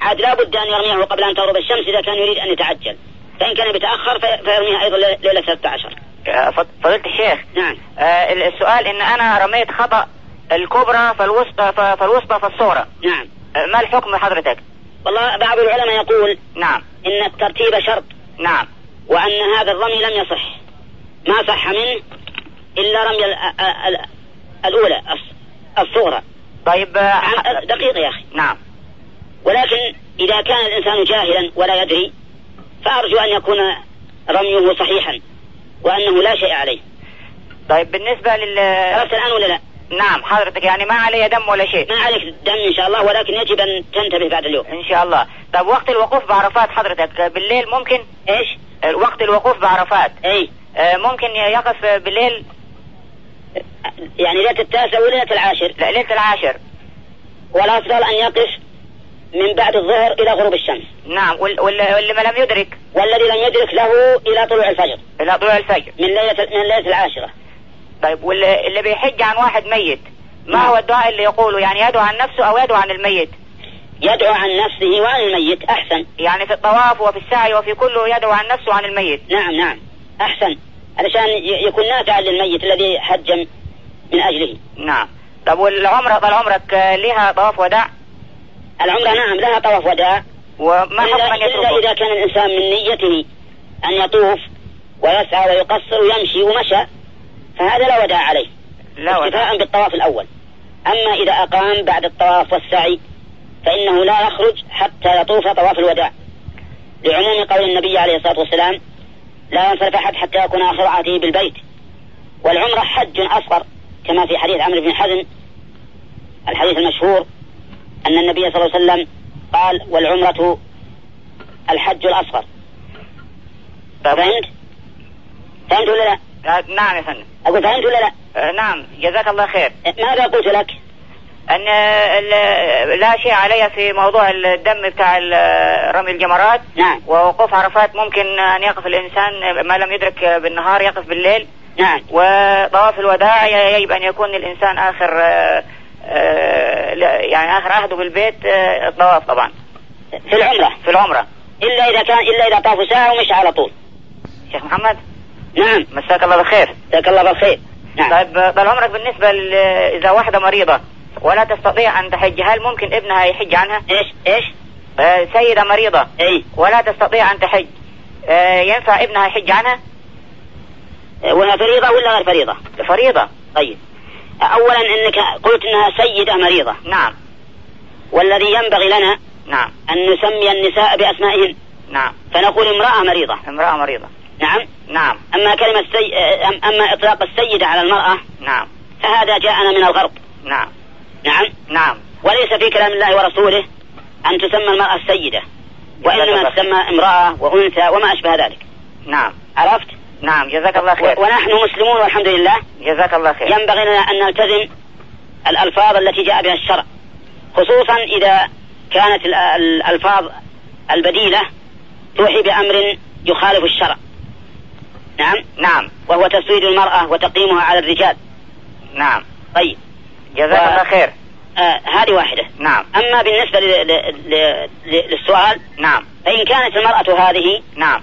Speaker 9: عاد لا بد أن يرميه قبل أن تغرب الشمس إذا كان يريد أن يتعجل فإن كان بيتأخر في- فيرميها أيضا لي- ليلة 13
Speaker 2: يا فض- فضيلة الشيخ
Speaker 9: نعم
Speaker 2: آه، السؤال ان انا رميت خطأ الكبرى فالوسطى ف- فالوسطى فالصغرى
Speaker 9: نعم
Speaker 2: آه، ما الحكم حضرتك
Speaker 9: والله بعض العلماء يقول
Speaker 2: نعم
Speaker 9: إن الترتيب شرط
Speaker 2: نعم
Speaker 9: وأن هذا الرمي لم يصح ما صح منه إلا رمي ال- ال- ال- الأولى الص- الصغرى
Speaker 2: طيب آه،
Speaker 9: عن- دقيقة يا أخي
Speaker 2: نعم
Speaker 9: ولكن إذا كان الإنسان جاهلا ولا يدري فأرجو أن يكون رميه صحيحا وأنه لا شيء عليه
Speaker 2: طيب بالنسبة لل
Speaker 9: عرفت الآن ولا لا
Speaker 2: نعم حضرتك يعني ما علي دم ولا شيء
Speaker 9: ما عليك دم إن شاء الله ولكن يجب أن تنتبه بعد اليوم
Speaker 2: ان شاء الله طب وقت الوقوف بعرفات حضرتك آه، بالليل ممكن
Speaker 9: إيش
Speaker 2: آه، وقت الوقوف بعرفات
Speaker 9: أي
Speaker 2: آه، ممكن يقف آه، بالليل
Speaker 9: يعني ليلة التاسع وليلة العاشر
Speaker 2: لا، ليلة العاشر
Speaker 9: والأفضل أن يقف من بعد الظهر إلى غروب الشمس
Speaker 2: نعم وال- وال- واللي ما لم يدرك
Speaker 9: والذي لم يدرك له إلى طلوع الفجر
Speaker 2: إلى طلوع الفجر
Speaker 9: من ليلة من ليلة العاشرة
Speaker 2: طيب واللي اللي بيحج عن واحد ميت ما
Speaker 9: نعم.
Speaker 2: هو الدعاء اللي يقوله يعني يدعو عن نفسه أو يدعو عن الميت
Speaker 9: يدعو عن نفسه وعن الميت أحسن
Speaker 2: يعني في الطواف وفي السعي وفي كله يدعو عن نفسه وعن الميت
Speaker 9: نعم نعم أحسن علشان ي- يكون نافعا للميت الذي حج من أجله
Speaker 2: نعم طب والعمرة طال عمرك آه، ليها طواف وداع
Speaker 9: العمرة نعم لها طواف وداع
Speaker 2: وما حكم
Speaker 9: إلا,
Speaker 2: من
Speaker 9: إلا إذا
Speaker 2: يتركه
Speaker 9: كان الإنسان من نيته أن يطوف ويسعى ويقصر ويمشي ومشى فهذا لا وداع عليه
Speaker 2: لا وداع
Speaker 9: اكتفاء بالطواف الأول أما إذا أقام بعد الطواف والسعي فإنه لا يخرج حتى يطوف طواف الوداع لعموم قول النبي عليه الصلاة والسلام لا ينصرف أحد حتى يكون آخر عهده بالبيت والعمرة حج أصغر كما في حديث عمرو بن حزم الحديث المشهور أن النبي صلى الله عليه وسلم قال والعمرة الحج الأصغر
Speaker 2: طب
Speaker 9: فهمت؟ فهمت ولا لا؟
Speaker 2: آه، نعم يا فندم
Speaker 9: أقول فهمت ولا لا؟
Speaker 2: آه، نعم جزاك الله خير
Speaker 9: ماذا قلت لك؟
Speaker 2: ان ال- آه، لا شيء علي في موضوع الدم بتاع ال- آه، رمي الجمرات
Speaker 9: نعم
Speaker 2: ووقوف عرفات ممكن ان يقف الانسان ما لم يدرك بالنهار يقف بالليل
Speaker 9: نعم
Speaker 2: وطواف الوداع يجب ان يكون الانسان اخر آه، آه، لا- يعني اخر عهده بالبيت آه، الطواف طبعا
Speaker 9: في العمرة
Speaker 2: في العمره
Speaker 9: إلا إذا كان إلا إذا طافوا ساعة ومشى على طول
Speaker 2: شيخ محمد
Speaker 9: نعم
Speaker 2: مساك الله بالخير
Speaker 9: جزاك الله بالخير نعم
Speaker 2: طيب طال عمرك بالنسبه ل- اذا واحده مريضه ولا تستطيع ان تحج هل ممكن ابنها يحج عنها؟
Speaker 9: إيش إيش
Speaker 2: آه، سيده مريضه
Speaker 9: إي
Speaker 2: ولا تستطيع أن تحج آه، ينفع ابنها يحج عنها؟
Speaker 9: وهي فريضة ولا غير فريضة؟
Speaker 2: فريضة
Speaker 9: طيب أولا أنك قلت أنها سيدة مريضة
Speaker 2: نعم
Speaker 9: والذي ينبغي لنا
Speaker 2: نعم
Speaker 9: أن نسمي النساء بأسمائهن
Speaker 2: نعم
Speaker 9: فنقول امرأة مريضة
Speaker 2: امرأة مريضة
Speaker 9: نعم
Speaker 2: نعم
Speaker 9: أما كلمة سي... أم- أما إطلاق السيدة على المرأة
Speaker 2: نعم
Speaker 9: فهذا جاءنا من الغرب
Speaker 2: نعم
Speaker 9: نعم
Speaker 2: نعم
Speaker 9: وليس في كلام الله ورسوله أن تسمى المرأة السيدة وإنما
Speaker 2: جزاك الله
Speaker 9: تسمى امرأة وأنثى وما أشبه ذلك
Speaker 2: نعم
Speaker 9: عرفت؟
Speaker 2: نعم جزاك الله خير
Speaker 9: و- ونحن مسلمون والحمد لله
Speaker 2: جزاك الله خير
Speaker 9: ينبغي لنا أن نلتزم الألفاظ التي جاء بها الشرع خصوصا إذا كانت ال- الألفاظ البديلة توحي بأمر يخالف الشرع نعم
Speaker 2: نعم
Speaker 9: وهو تسويد المرأة وتقييمها على الرجال
Speaker 2: نعم
Speaker 9: طيب
Speaker 2: جزاك
Speaker 9: و-
Speaker 2: الله خير
Speaker 9: آه هذه واحدة
Speaker 2: نعم
Speaker 9: أما بالنسبة ل- ل- ل- ل- للسؤال
Speaker 2: نعم
Speaker 9: فإن كانت المرأة هذه
Speaker 2: نعم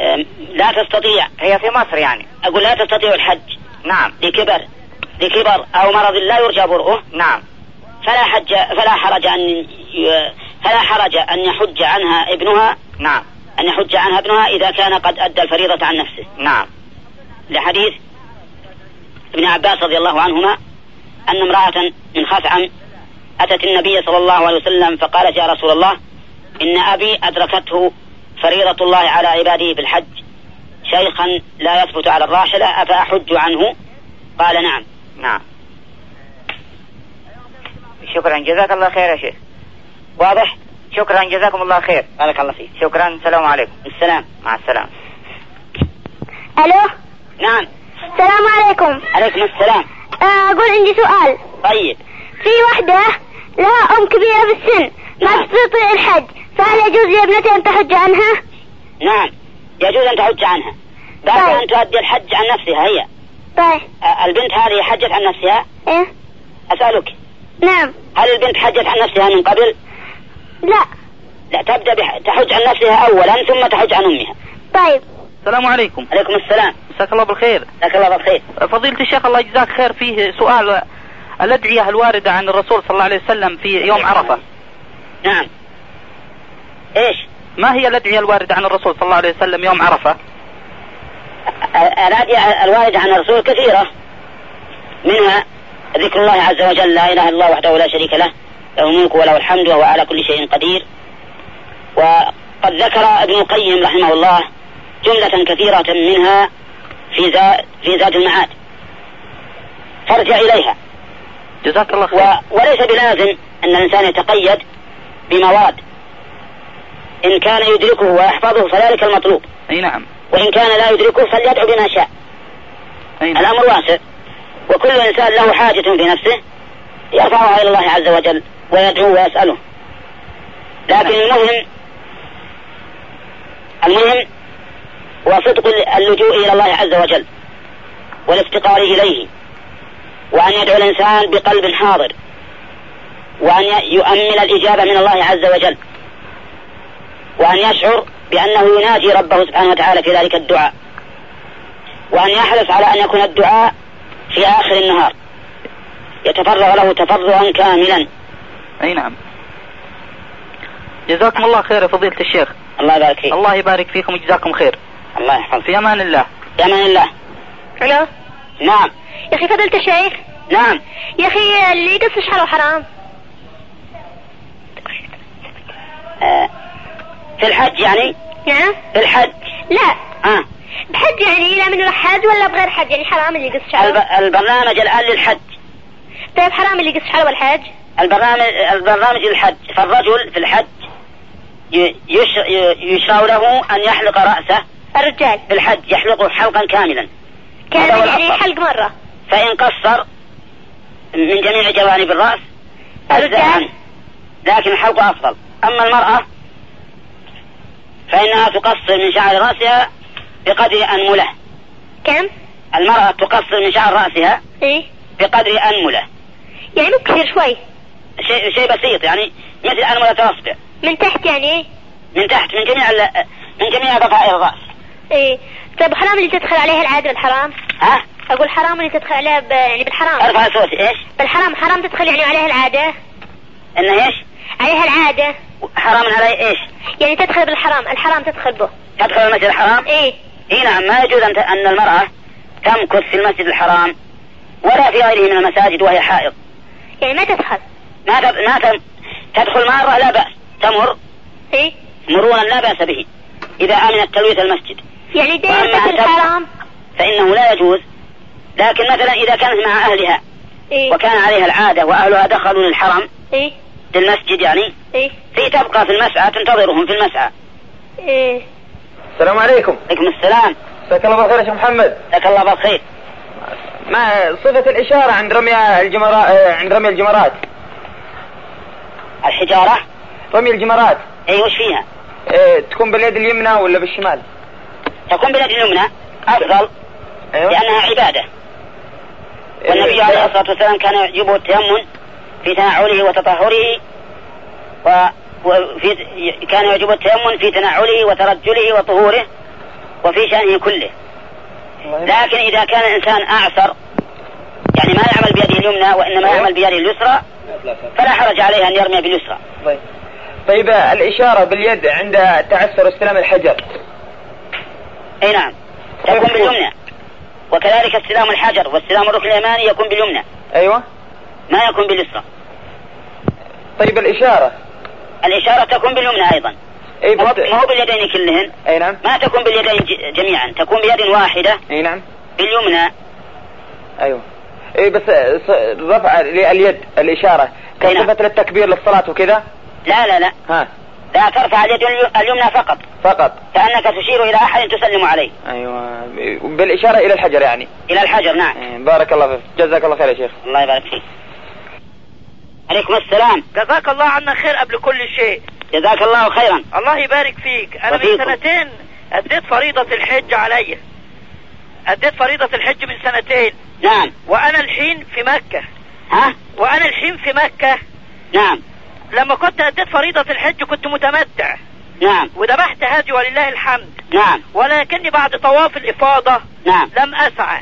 Speaker 9: آم، لا تستطيع
Speaker 2: هي في مصر يعني
Speaker 9: أقول لا تستطيع الحج
Speaker 2: نعم
Speaker 9: لكبر لكبر أو مرض لا يرجى برؤه
Speaker 2: نعم
Speaker 9: فلا حج فلا حرج أن ي- فلا حرج أن يحج عنها ابنها
Speaker 2: نعم
Speaker 9: أن يحج عنها ابنها إذا كان قد أدى الفريضة عن نفسه
Speaker 2: نعم
Speaker 9: لحديث ابن عباس رضي الله عنهما أن امرأة من خثعم أتت النبي صلى الله عليه وسلم فقالت يا رسول الله إن أبي أدركته فريضة الله على عباده بالحج شيخا لا يثبت على الراحلة أفأحج عنه قال نعم
Speaker 2: نعم شكرا جزاك الله خير يا شيخ
Speaker 9: واضح
Speaker 2: شكرا جزاكم الله خير
Speaker 9: بارك الله فيك
Speaker 2: شكرا السلام عليكم
Speaker 9: السلام
Speaker 2: مع السلامة
Speaker 8: الو
Speaker 9: نعم
Speaker 8: السلام عليكم
Speaker 9: عليكم السلام
Speaker 8: آه، اقول عندي سؤال
Speaker 9: طيب
Speaker 8: في واحدة لها ام كبيرة في السن ما
Speaker 9: نعم.
Speaker 8: تستطيع الحج فهل يجوز لابنتها ان تحج عنها؟
Speaker 9: نعم يجوز أن تحج عنها بعد
Speaker 8: طيب.
Speaker 9: أن تؤدي الحج عن نفسها هي
Speaker 8: طيب
Speaker 9: أ- البنت هذه حجت عن نفسها
Speaker 8: ايه
Speaker 9: أسألك
Speaker 8: نعم
Speaker 9: هل البنت حجت عن نفسها من قبل؟
Speaker 8: لا
Speaker 9: لا تبدأ بح... تحج عن نفسها أولا ثم تحج عن أمها
Speaker 8: طيب
Speaker 1: السلام عليكم
Speaker 9: عليكم السلام
Speaker 1: مساك الله بالخير
Speaker 9: جزاك الله بالخير
Speaker 1: فضيلة الشيخ الله يجزاك خير فيه سؤال الأدعية الواردة عن الرسول صلى الله عليه وسلم في يوم عرفة
Speaker 9: نعم إيش
Speaker 1: ما هي الأدعية الواردة عن الرسول صلى الله عليه وسلم يوم عرفة
Speaker 9: الأدعية الواردة عن الرسول كثيرة منها ذكر الله عز وجل لا إله إلا الله وحده لا شريك له له الملك وله الحمد وهو على كل شيء قدير وقد ذكر ابن القيم رحمه الله جملة كثيرة منها في زاد في زاد المعاد فارجع إليها
Speaker 1: جزاك الله
Speaker 9: و...
Speaker 1: خير
Speaker 9: وليس بلازم أن الإنسان يتقيد بمواد إن كان يدركه ويحفظه فذلك المطلوب
Speaker 1: أي نعم
Speaker 9: وإن كان لا يدركه فليدعو بما شاء
Speaker 1: أي نعم
Speaker 9: الأمر واسع وكل إنسان له حاجة في نفسه يرفعها إلى الله عز وجل ويدعو ويسأله لكن المهم المهم هو صدق اللجوء إلى الله عز وجل والافتقار إليه وأن يدعو الإنسان بقلب حاضر وأن يؤمل الإجابة من الله عز وجل وأن يشعر بأنه يناجي ربه سبحانه وتعالى في ذلك الدعاء وأن يحرص على أن يكون الدعاء في آخر النهار يتفرغ له تفرغا كاملا
Speaker 1: أي نعم جزاكم الله خير يا فضيلة الشيخ
Speaker 9: الله يبارك فيك
Speaker 1: الله يبارك فيكم وجزاكم خير
Speaker 9: الله يحفظك
Speaker 1: في أمان الله
Speaker 9: في أمان الله
Speaker 8: الو
Speaker 9: نعم
Speaker 8: يا اخي فضلت الشيخ
Speaker 9: نعم
Speaker 8: يا اخي اللي يقص شحاله حرام
Speaker 9: آه. في الحج يعني
Speaker 8: نعم
Speaker 9: في الحج
Speaker 8: لا
Speaker 9: آه.
Speaker 8: بحج يعني لا من حاج ولا بغير حاج يعني حرام اللي يقص شعره
Speaker 9: الب... البرنامج الآن للحج
Speaker 8: طيب حرام اللي يقص شعره والحاج
Speaker 9: البرنامج البرنامج للحج فالرجل في الحج ي- يش... ي- يشرع له أن يحلق رأسه
Speaker 8: الرجال
Speaker 9: في الحج يحلقه حلقا كاملا هذا هو
Speaker 8: كان يعني
Speaker 9: الأفضل.
Speaker 8: حلق مرة
Speaker 9: فإن قصر من جميع جوانب الرأس أجزأ
Speaker 8: الرجال؟
Speaker 9: عنه لكن الحلق أفضل أما المرأة فإنها تقصر من شعر رأسها بقدر أنملة
Speaker 8: كم؟
Speaker 9: المرأة تقصر من شعر رأسها
Speaker 8: ايه
Speaker 9: بقدر أنملة
Speaker 8: يعني مو كثير شوي
Speaker 9: شيء شيء بسيط يعني مثل أنملة الأصبع
Speaker 8: من تحت يعني ايه
Speaker 9: من تحت من جميع ال- من جميع بقايا الرأس
Speaker 8: ايه طيب حرام اللي تدخل عليها العادة بالحرام
Speaker 9: ها
Speaker 8: اقول حرام اللي تدخل عليها ب... يعني بالحرام
Speaker 9: ارفع صوتي ايش؟
Speaker 8: بالحرام حرام تدخل يعني عليها العادة
Speaker 9: إن ايش؟
Speaker 8: عليها العادة
Speaker 9: حرام علي ايش؟
Speaker 8: يعني تدخل بالحرام الحرام تدخل به
Speaker 9: تدخل المسجد الحرام؟
Speaker 8: ايه
Speaker 9: اي نعم ما يجوز ان ت- ان المراه تمكث في المسجد الحرام ولا في غيره من المساجد وهي حائض
Speaker 8: يعني ما تدخل
Speaker 9: ما تب... ما تم... تدخل مارة لا بأس تمر
Speaker 8: ايه
Speaker 9: مرورا لا بأس به إذا أمن التلويث المسجد
Speaker 8: يعني داير
Speaker 9: وأما
Speaker 8: مثل
Speaker 9: أن تدخل
Speaker 8: الحرام
Speaker 9: فإنه لا يجوز لكن مثلا إذا كانت مع أهلها
Speaker 8: ايه
Speaker 9: وكان عليها العادة وأهلها دخلوا للحرم
Speaker 8: ايه
Speaker 9: للمسجد يعني
Speaker 8: ايه
Speaker 9: في تبقى في المسعى تنتظرهم في المسعى
Speaker 8: ايه
Speaker 1: السلام عليكم
Speaker 9: عليكم السلام
Speaker 1: مساك الله بالخير يا شيخ محمد
Speaker 9: مساك الله بالخير
Speaker 1: ما صفة الإشارة عند رمي الجمرات عند رمي الجمرات
Speaker 9: الحجارة
Speaker 1: رمي الجمرات
Speaker 9: أي وش فيها
Speaker 1: آه، تكون باليد اليمنى ولا بالشمال؟
Speaker 9: تكون باليد اليمنى أفضل
Speaker 1: أيوة. آه،
Speaker 9: لأنها عبادة
Speaker 1: إيه.
Speaker 9: والنبي عليه الصلاة والسلام كان يعجبه التيمم في تنعله وتطهره و... وفي كان يعجبه التيمم في تنعله وترجله وطهوره وفي شأنه كله
Speaker 1: طيب.
Speaker 9: لكن إذا كان الإنسان أعسر يعني ما يعمل بيده اليمنى وإنما يعمل بيده اليسرى فلا حرج عليه أن يرمي باليسرى
Speaker 1: طيب طيب آه، الإشارة باليد عند تعثر استلام الحجر
Speaker 9: أي نعم تكون باليمنى وكذلك استلام الحجر واستلام الركن اليماني يكون باليمنى
Speaker 1: أيوة
Speaker 9: ما يكون باليسرى
Speaker 1: طيب الإشارة
Speaker 9: الإشارة تكون باليمنى أيضا
Speaker 1: أي
Speaker 9: ما هو-
Speaker 1: بت-
Speaker 9: ما هو باليدين كلهن
Speaker 1: أي نعم
Speaker 9: ما تكون باليدين ج- جميعا تكون بيد واحدة
Speaker 1: أي نعم
Speaker 9: باليمنى
Speaker 1: أيوة أي بس آه، ص- رفع اليد الإشارة
Speaker 9: أي نعم.
Speaker 1: كصفة للتكبير للصلاة وكذا
Speaker 9: لا لا لا
Speaker 1: ها
Speaker 9: لا ترفع اليد اليو- اليمنى فقط
Speaker 1: فقط
Speaker 9: كأنك تشير إلى أحد تسلم عليه
Speaker 1: أيوة بالإشارة إلى الحجر يعني
Speaker 9: إلى الحجر نعم
Speaker 1: آه، بارك الله فيك جزاك الله خير يا شيخ
Speaker 9: الله يبارك فيك عليكم السلام
Speaker 3: جزاك الله عنا خير قبل كل شيء
Speaker 9: جزاك الله خيرا
Speaker 3: الله يبارك فيك انا من
Speaker 9: وفيكم.
Speaker 3: سنتين اديت فريضة الحج عليا اديت فريضة الحج من سنتين
Speaker 9: نعم
Speaker 3: وانا الحين في مكة
Speaker 9: ها
Speaker 3: وانا الحين في مكة
Speaker 9: نعم
Speaker 3: لما كنت اديت فريضة الحج كنت متمتع
Speaker 9: نعم
Speaker 3: وذبحت هادي ولله الحمد
Speaker 9: نعم
Speaker 3: ولكني بعد طواف الافاضة
Speaker 9: نعم
Speaker 3: لم اسعى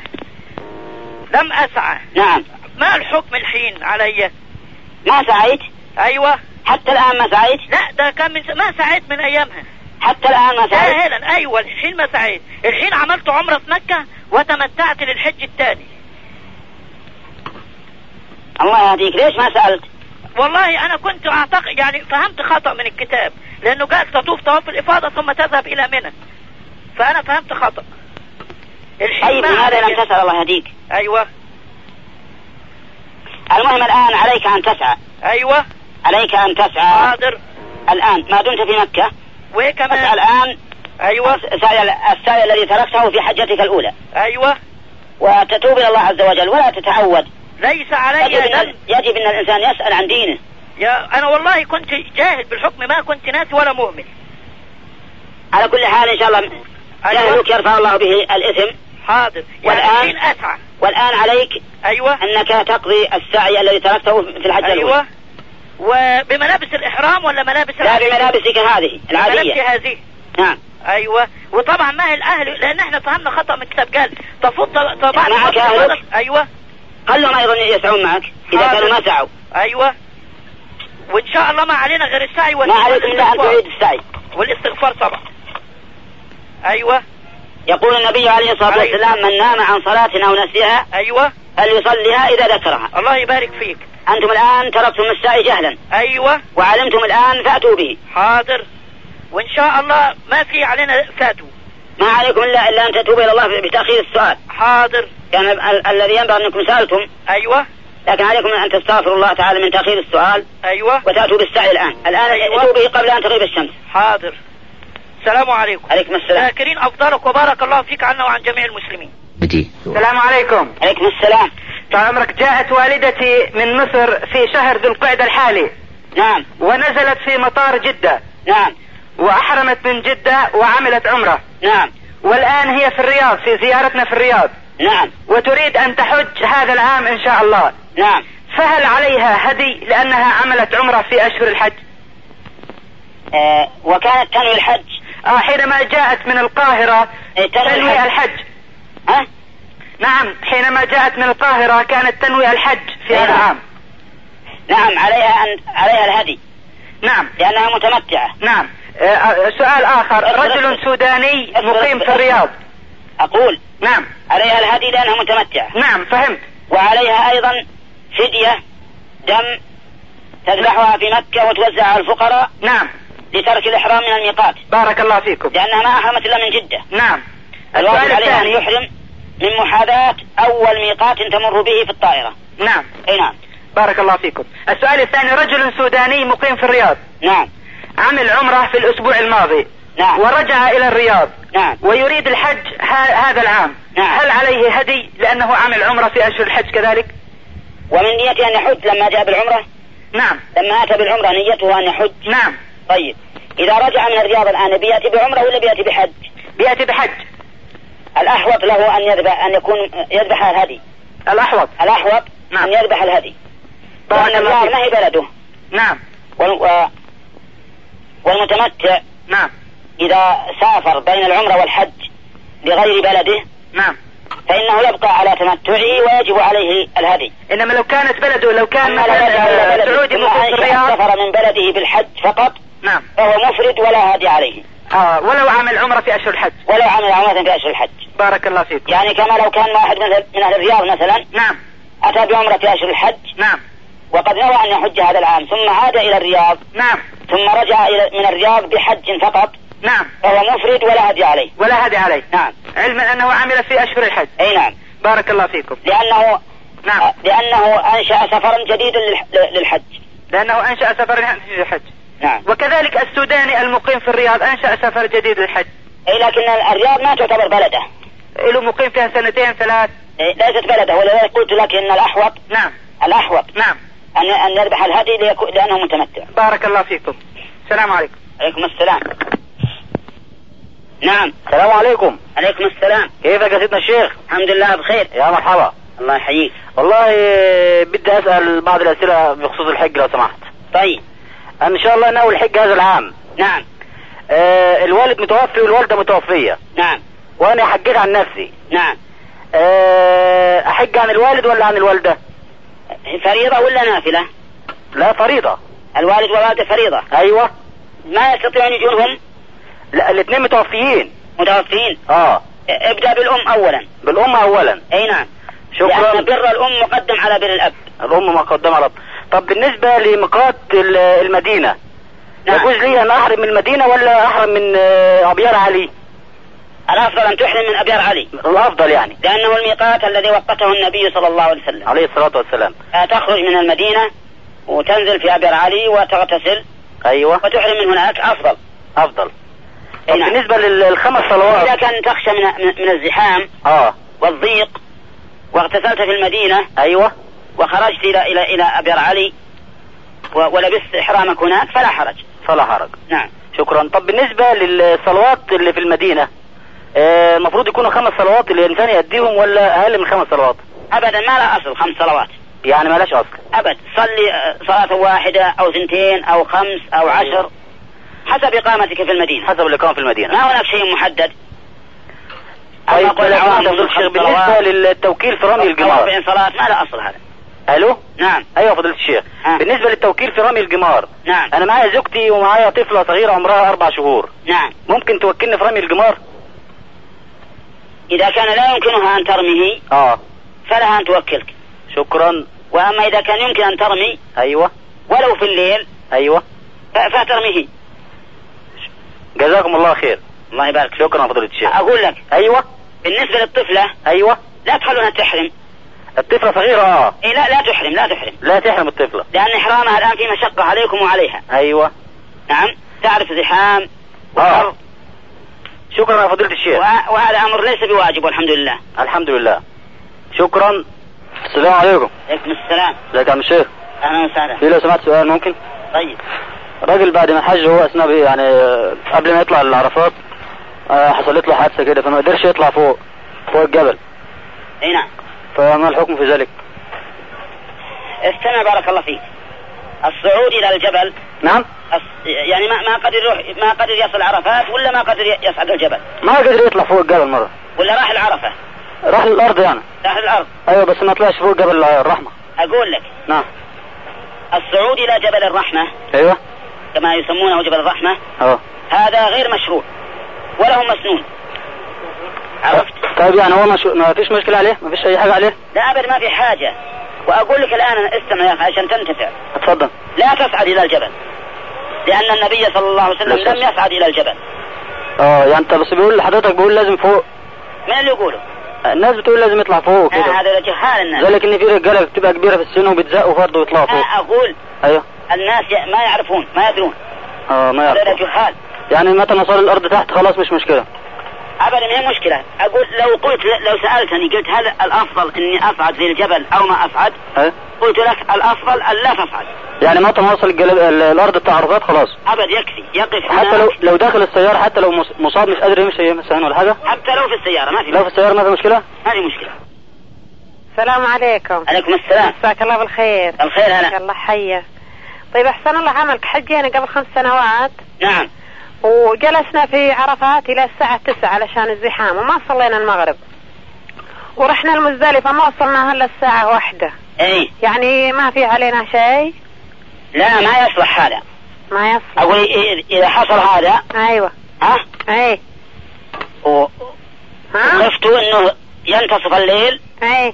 Speaker 3: لم اسعى
Speaker 9: نعم
Speaker 3: ما الحكم الحين عليا
Speaker 9: ما سعيت
Speaker 3: ايوه
Speaker 9: حتى الآن ما سعيت
Speaker 3: لا ده كان من س... ما سعيت من ايامها
Speaker 9: حتى الآن ما سعيت
Speaker 3: ساهلا ايوه الحين ما سعيت الحين عملت عمره في مكه وتمتعت للحج الثاني
Speaker 9: الله يهديك ليش ما سألت
Speaker 3: والله انا كنت اعتقد يعني فهمت خطا من الكتاب لانه قال تطوف طواف الافاضه ثم تذهب الى منى فانا فهمت خطا الحين
Speaker 9: طيب
Speaker 3: ما
Speaker 9: لماذا لم
Speaker 3: علي.
Speaker 9: تسأل الله يهديك
Speaker 3: ايوه
Speaker 9: المهم الآن عليك أن تسعى
Speaker 3: ايوه
Speaker 9: عليك أن تسعى
Speaker 3: حاضر
Speaker 9: الآن ما دمت في مكة
Speaker 3: وكمان
Speaker 9: اسعى الآن
Speaker 3: ايوه
Speaker 9: أيوة، السعي السعي الذي تركته في حجتك الأولى
Speaker 3: ايوه
Speaker 9: وتتوب إلى الله عز وجل ولا تتعود
Speaker 3: ليس
Speaker 9: يجب
Speaker 3: علي
Speaker 9: أن,
Speaker 3: ذنب
Speaker 9: يجب أن الإنسان يسأل عن دينه
Speaker 3: يا انا والله كنت جاهل بالحكم ما كنت ناسي ولا مؤمن
Speaker 9: على كل حال إن شاء الله جهلك يرفع الله به الإثم
Speaker 3: حاضر يعني
Speaker 9: والآن- أيوة،
Speaker 3: الحين اسعى
Speaker 9: والآن عليك
Speaker 3: ايوه
Speaker 9: أنك تقضي السعي الذي تركته في الحجة الأولى
Speaker 3: ايوه وبملابس الاحرام ولا ملابس
Speaker 9: لا بملابسك هذه
Speaker 3: ملابسي
Speaker 9: العادية
Speaker 3: هذه
Speaker 9: نعم
Speaker 3: ايوه وطبعا ما هي الاهل لان احنا فهمنا خطا من كتاب قال تفوت طبعا
Speaker 9: معك أهلك
Speaker 3: ايوه
Speaker 9: قلهم أيضا يسعون معك إذا
Speaker 3: حاضر.
Speaker 9: كانوا ما سعوا
Speaker 3: ايوه وان شاء الله ما علينا غير السعي
Speaker 9: ما عليكم إلا أن تعيد السعي
Speaker 3: والاستغفار طبعا ايوه
Speaker 9: يقول النبي عليه الصلاة
Speaker 3: عليه.
Speaker 9: والسلام من نام عن صلاة أو نسيها
Speaker 3: ايوه
Speaker 9: فليصليها إذا ذكرها
Speaker 3: الله يبارك فيك
Speaker 9: أنتم الآن تركتم السعي جهلا
Speaker 3: ايوه
Speaker 9: وعلمتم الآن فأتوا به
Speaker 3: حاضر وان شاء الله ما في علينا فاتو
Speaker 9: ما عليكم إلا إلا أن تتوبوا إلى الله بتأخير السؤال
Speaker 3: حاضر
Speaker 9: يعني ال- الذي ينبغي أنكم سألتم
Speaker 3: ايوه
Speaker 9: لكن عليكم أن تستغفروا الله تعالى من تأخير السؤال
Speaker 3: ايوه
Speaker 9: وتأتوا بالسعي الآن الآن
Speaker 3: أيوة.
Speaker 9: اتوا به قبل أن تغيب الشمس
Speaker 3: حاضر السلام عليكم آه،
Speaker 9: عليكم السلام
Speaker 3: ذاكرين افضلك وبارك الله فيك عنا وعن جميع المسلمين
Speaker 2: السلام عليكم
Speaker 9: عليكم السلام
Speaker 2: طال عمرك جاءت والدتي من مصر في شهر ذو القعدة الحالي
Speaker 9: نعم
Speaker 2: ونزلت في مطار جدة
Speaker 9: نعم
Speaker 2: وأحرمت من جدة وعملت عمرة
Speaker 9: نعم
Speaker 2: والآن هي في الرياض في زيارتنا في الرياض
Speaker 9: نعم
Speaker 2: وتريد أن تحج هذا العام إن شاء الله
Speaker 9: نعم
Speaker 2: فهل عليها هدي لأنها عملت عمرة في أشهر الحج
Speaker 9: آه وكانت تنوي الحج
Speaker 2: آه حينما جاءت من القاهرة
Speaker 9: إيه،
Speaker 2: تنوي الحج
Speaker 9: ها
Speaker 2: نعم حينما جاءت من القاهرة كانت تنوي الحج في هذا العام
Speaker 9: نعم عليها أن عليها الهدي نعم لأنها متمتعة
Speaker 1: نعم آه، سؤال آخر رجل سوداني مقيم في الرياض
Speaker 9: أقول
Speaker 1: نعم
Speaker 9: عليها الهدي لأنها متمتعة
Speaker 1: نعم فهمت
Speaker 9: وعليها أيضا فدية دم تذبحها في مكة وتوزع على الفقراء
Speaker 1: نعم
Speaker 9: لترك الإحرام من الميقات
Speaker 1: بارك الله فيكم
Speaker 9: لأنها ما أحرمت إلا من جدة
Speaker 1: نعم
Speaker 9: الواجب
Speaker 1: السؤال
Speaker 9: عليها أن
Speaker 1: الثاني.
Speaker 9: يحرم من محاذاة أول ميقات تمر به في الطائرة
Speaker 1: نعم
Speaker 9: أي نعم
Speaker 1: بارك الله فيكم السؤال الثاني رجل سوداني مقيم في الرياض
Speaker 9: نعم
Speaker 1: عمل عمره في الأسبوع الماضي
Speaker 9: نعم
Speaker 1: ورجع إلى الرياض
Speaker 9: نعم
Speaker 1: ويريد الحج ه- هذا العام
Speaker 9: نعم.
Speaker 1: هل عليه هدي لأنه عمل عمره في أشهر الحج كذلك
Speaker 9: ومن نيته أن يحج لما جاء بالعمرة
Speaker 1: نعم
Speaker 9: لما أتى بالعمرة نيته أن يحج
Speaker 1: نعم
Speaker 9: طيب إذا رجع من الرياض الآن بيأتي بعمرة ولا بيأتي بحج
Speaker 1: بيأتي بحج
Speaker 9: الأحوط له أن يذبح أن يكون يذبح الهدي
Speaker 1: الأحوط
Speaker 9: الأحوط
Speaker 1: نعم.
Speaker 9: أن يذبح الهدي
Speaker 1: بارك
Speaker 9: لأن
Speaker 1: الله
Speaker 9: الرياض ما
Speaker 1: فيك
Speaker 9: هي بلده
Speaker 1: نعم
Speaker 9: وال... و- والمتمتع
Speaker 1: نعم
Speaker 9: إذا سافر بين العمرة والحج بغير بلده
Speaker 1: نعم
Speaker 9: فإنه يبقى على تمتعه ويجب عليه الهدي
Speaker 1: إنما لو كانت بلده لو كان
Speaker 9: أما
Speaker 1: مثلا
Speaker 9: لو كان
Speaker 1: آه،
Speaker 9: بلده
Speaker 1: سعودي
Speaker 9: ثم
Speaker 1: مقيم في
Speaker 9: عايش
Speaker 1: الرياض
Speaker 9: سافر من بلده بالحج فقط
Speaker 1: نعم
Speaker 9: فهو مفرد ولا هدي عليه
Speaker 1: آه ولو عمل عمره في أشهر الحج
Speaker 9: ولو عمل عمرة في أشهر الحج
Speaker 1: بارك الله فيكم
Speaker 9: يعني كما لو كان واحد مثل من أهل الرياض مثلا
Speaker 1: نعم
Speaker 9: أتى بعمرة في أشهر الحج
Speaker 1: نعم
Speaker 9: وقد نوى أن يحج هذا العام ثم عاد إلى الرياض
Speaker 1: نعم
Speaker 9: ثم رجع إلى من الرياض بحج فقط
Speaker 1: نعم
Speaker 9: فهو مفرد ولا هدي عليه
Speaker 1: ولا هدي عليه
Speaker 9: نعم
Speaker 1: علما أنه عمل في أشهر الحج
Speaker 9: أي نعم
Speaker 1: بارك الله فيكم
Speaker 9: لأنه
Speaker 1: نعم
Speaker 9: لأنه أنشأ سفرا جديدا للح- للحج
Speaker 1: لأنه أنشأ سفر في الحج
Speaker 9: نعم
Speaker 1: وكذلك السوداني المقيم في الرياض أنشأ سفر جديد للحج
Speaker 9: أي لكن الرياض ما تعتبر بلده
Speaker 1: له مقيم فيها سنتين ثلاث
Speaker 9: إيه، ليست بلده ولذلك قلت لك أن الأحوط
Speaker 1: نعم
Speaker 9: الأحوط
Speaker 1: نعم
Speaker 9: أن أن يذبح الهدي ليكو- لأنه متمتع
Speaker 1: بارك الله فيكم السلام عليكم
Speaker 9: عليكم السلام نعم
Speaker 2: السلام عليكم
Speaker 9: عليكم السلام
Speaker 2: كيفك يا سيدنا الشيخ
Speaker 9: الحمد لله بخير
Speaker 2: يا مرحبا
Speaker 9: الله يحييك
Speaker 2: والله آه، بدي اسال بعض الاسئله بخصوص الحج لو سمحت
Speaker 9: طيب
Speaker 2: ان شاء الله ناوي الحج هذا العام
Speaker 9: نعم
Speaker 2: آه الوالد متوفي والوالده متوفيه
Speaker 9: نعم
Speaker 2: وانا حجيت عن نفسي
Speaker 9: نعم
Speaker 2: آه احج عن الوالد ولا عن الوالده
Speaker 9: فريضة ولا نافلة
Speaker 2: لا فريضه
Speaker 9: الوالد والوالدة فريضة
Speaker 2: ايوه
Speaker 9: ما يستطيعون يجونهم
Speaker 2: لا الاثنين متوفيين
Speaker 9: متوفين
Speaker 2: اه
Speaker 9: إيه، ابدأ بالأم أولا
Speaker 2: بالام اولا
Speaker 9: أي نعم
Speaker 2: شكرا
Speaker 9: لأن بر الأم مقدم على بر الأب
Speaker 2: الام مقدمه رب طب بالنسبه لميقات ال- المدينه
Speaker 9: نعم.
Speaker 2: يجوز لي ان احرم من المدينه ولا احرم من آه، ابيار علي
Speaker 9: الأفضل أن تحرم من أبيار علي
Speaker 2: الافضل يعني
Speaker 9: لأنه الميقات الذي وقته النبي صلى الله عليه وسلم
Speaker 2: عليه الصلاه والسلام
Speaker 9: آه، تخرج من المدينة وتنزل في أبيار علي وتغتسل
Speaker 2: ايوه
Speaker 9: وتحرم من هناك أفضل
Speaker 2: افضل طب
Speaker 9: أي نعم.
Speaker 2: بالنسبه لل- للخمس صلوات
Speaker 9: إذا كان تخشى من, من- من الزحام
Speaker 2: اه
Speaker 9: والضيق واغتسلت في المدينة
Speaker 2: ايوه
Speaker 9: وخرجت إلى إلى إلى أبيار علي و- ولبست إحرامك هناك فلا حرج
Speaker 2: فلا حرج
Speaker 9: نعم
Speaker 2: شكرا طب بالنسبه للصلوات اللي في المدينه آه، المفروض يكونوا خمس صلوات الانسان يأديهم ولا اقل من خمس صلوات
Speaker 9: أبدا ما لا أصل خمس صلوات
Speaker 2: يعني ملاش اصل
Speaker 9: أبد صلي آه، صلاة واحدة أو اثنتين أو خمس أو عشر حسب إقامتك في المدينة
Speaker 2: حسب الاقامه في المدينه
Speaker 9: ما هناك شيء محدد أما
Speaker 2: طيب
Speaker 9: قول العوام
Speaker 2: بالنسبة-
Speaker 9: يصوم خمس
Speaker 2: بالنسبه
Speaker 9: صلوات
Speaker 2: للتوكيل في رمي
Speaker 9: أو
Speaker 2: الجمار
Speaker 9: أربعين صلاة ما لا أصل هذا
Speaker 2: الو
Speaker 9: نعم
Speaker 2: ايوه فضيله الشيخ
Speaker 9: آه.
Speaker 2: بالنسبه للتوكيل في رمي الجمار
Speaker 9: نعم
Speaker 2: انا معايا زوجتي ومعايا طفله صغيره عمرها اربع شهور
Speaker 9: نعم
Speaker 2: ممكن توكلني في رمي الجمار
Speaker 9: إذا كان لا يمكنها أن ترميه
Speaker 2: اه
Speaker 9: فلها أن توكلك
Speaker 2: شكرا
Speaker 9: وأما إذا كان يمكن أن ترمي
Speaker 2: ايوه
Speaker 9: ولو في الليل
Speaker 2: ايوه
Speaker 9: ف- فترميه
Speaker 2: جزاكم الله خير
Speaker 9: الله يبارك فيك.
Speaker 2: شكرا فضيله الشيخ
Speaker 9: أقول لك
Speaker 2: ايوه
Speaker 9: بالنسبة للطفلة
Speaker 2: ايوه
Speaker 9: لا تخلونها تحرم
Speaker 2: الطفله صغيره اه
Speaker 9: إيه لا لا تحرم لا تحرم
Speaker 2: لا تحرم الطفله
Speaker 9: لأن إحرامها الآن في مشقة عليكم وعليها
Speaker 2: ايوه
Speaker 9: نعم تعرف زحام
Speaker 2: اه شكرا يا فضيله الشيخ
Speaker 9: وه- وهذا أمر ليس بواجب والحمد لله
Speaker 2: الحمد لله شكرا السلام عليكم
Speaker 9: عليكم السلام
Speaker 2: ازيك يا عم الشيخ
Speaker 9: أهلا وسهلا
Speaker 2: في لو سمحت سؤال ممكن
Speaker 9: طيب
Speaker 2: راجل بعد ما حج هو اثناء بي- يعني آه، قبل ما يطلع للعرفات آه، حصلت له حادثه كده فما قدرش يطلع فوق فوق الجبل
Speaker 9: أي نعم
Speaker 2: فما الحكم في ذلك
Speaker 9: استمع بارك الله فيك الصعود إلى الجبل
Speaker 2: نعم
Speaker 9: الص- يعني ما ما قدر يروح ما قدر يصل عرفات ولا ما قدر ي- يصعد الجبل
Speaker 2: ما قدر يطلع فوق الجبل مره
Speaker 9: ولا راح العرفة
Speaker 2: راح للارض يعني
Speaker 9: راح الأرض
Speaker 1: أيوة،
Speaker 2: ايوه بس ما طلعش فوق جبل الرحمه
Speaker 9: أقول لك
Speaker 2: نعم
Speaker 1: أيوة.
Speaker 9: الصعود إلى جبل الرحمة
Speaker 2: ايوه كما يسمونه جبل الرحمة
Speaker 1: اه
Speaker 2: هذا غير مشروع وله مسنون
Speaker 1: طيب يعني هو مش... ما فيش مشكله عليه ما فيش اي حاجه عليه
Speaker 2: لا أبد ما في حاجة وأقول لك الآن أنا استمع يا أخي عشان تنتفع
Speaker 1: اتفضل
Speaker 2: لا تصعد إلى الجبل لأن النبي صلى الله عليه وسلم لم يصعد إلى الجبل
Speaker 1: اه يعني انت بس بيقول لحضرتك بيقول لازم فوق
Speaker 2: من اللي يقوله؟
Speaker 1: الناس بتقول لازم يطلع فوق
Speaker 2: آه
Speaker 1: كده
Speaker 2: هذا جهال الناس
Speaker 1: ذلك ان في رجاله بتبقى كبيره في السن وبتزقوا برضه ويطلعوا فوق
Speaker 2: آه أقول
Speaker 1: ايوه
Speaker 2: الناس ي- ما يعرفون ما يدرون
Speaker 1: اه ما
Speaker 2: هذا
Speaker 1: يعرف
Speaker 2: جهال
Speaker 1: يعني متى ما صار الارض تحت خلاص مش مشكله
Speaker 2: أبدا ما هي مشكلة أقول لو قلت لو سألتني قلت هل الأفضل إني أصعد في الجبل أو ما أصعد؟
Speaker 1: ايوه
Speaker 2: قلت لك الأفضل أن لا تصعد
Speaker 1: يعني متى ما وصل الجل... ال- الارض التعرضات خلاص
Speaker 2: أبد يكفي يقف
Speaker 1: حتى
Speaker 2: هناك
Speaker 1: لو لو داخل السياره حتى لو مص- مصاب مش قادر يمشي مثلا ولا حاجه
Speaker 2: حتى لو في السيارة ما في
Speaker 1: لو في السياره ما في مشكله
Speaker 2: ما في مشكلة
Speaker 8: السلام عليكم
Speaker 2: عليكم السلام
Speaker 8: مساك الله بالخير
Speaker 2: الخير هلا.
Speaker 8: الله حيا طيب احسن الله عملك حجي انا قبل خمس سنوات
Speaker 2: نعم
Speaker 8: وجلسنا في عرفات الى الساعه تسعة علشان الزحام وما صلينا المغرب ورحنا المزدلفه ما وصلنا الا الساعه واحدة
Speaker 2: إيه
Speaker 8: يعني ما في علينا شيء
Speaker 2: لا ما يصلح هذا
Speaker 8: ما يصلح
Speaker 2: أقول إيه- إذا حصل هذا
Speaker 8: ايوه
Speaker 2: ها؟
Speaker 8: ايه
Speaker 2: و-
Speaker 8: ها
Speaker 2: خفتوا انه ينتصف الليل
Speaker 8: ايه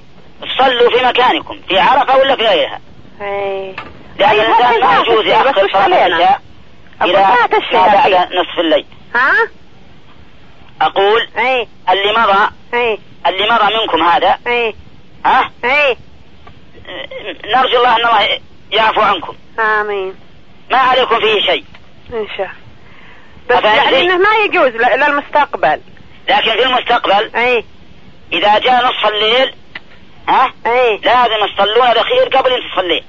Speaker 2: صلوا في مكانكم في عرفه ولا في غيرها
Speaker 8: ايه
Speaker 2: لأن
Speaker 8: طيب
Speaker 2: الإنسان
Speaker 8: هذه
Speaker 2: ما
Speaker 8: ما
Speaker 2: يجوز
Speaker 8: تشفي، بس
Speaker 2: يأخر
Speaker 8: وش
Speaker 2: صلاة
Speaker 8: علينا؟
Speaker 2: العشاء
Speaker 8: أقول
Speaker 2: إلى
Speaker 8: ما تشفي
Speaker 2: ما
Speaker 8: هذه.
Speaker 2: بعد نصف الليل
Speaker 8: ها
Speaker 2: أقول
Speaker 8: ايه
Speaker 2: اللي مضى
Speaker 8: ايه
Speaker 2: اللي مضى منكم هذا
Speaker 8: ايه
Speaker 2: ها
Speaker 8: ايه
Speaker 2: نرجو الله أن الله يعفو عنكم
Speaker 8: امين
Speaker 2: ما عليكم فيه شيء
Speaker 8: ان شاء الله بس
Speaker 2: أفعل
Speaker 8: يعني
Speaker 2: شيء؟
Speaker 8: انه ما يجوز ل- للمستقبل إيه.
Speaker 2: لكن في المستقبل
Speaker 8: اي
Speaker 2: إذا جاء نصف الليل ها
Speaker 8: اي
Speaker 2: لازم تصلون الأخير قبل نصف الليل
Speaker 8: إيه.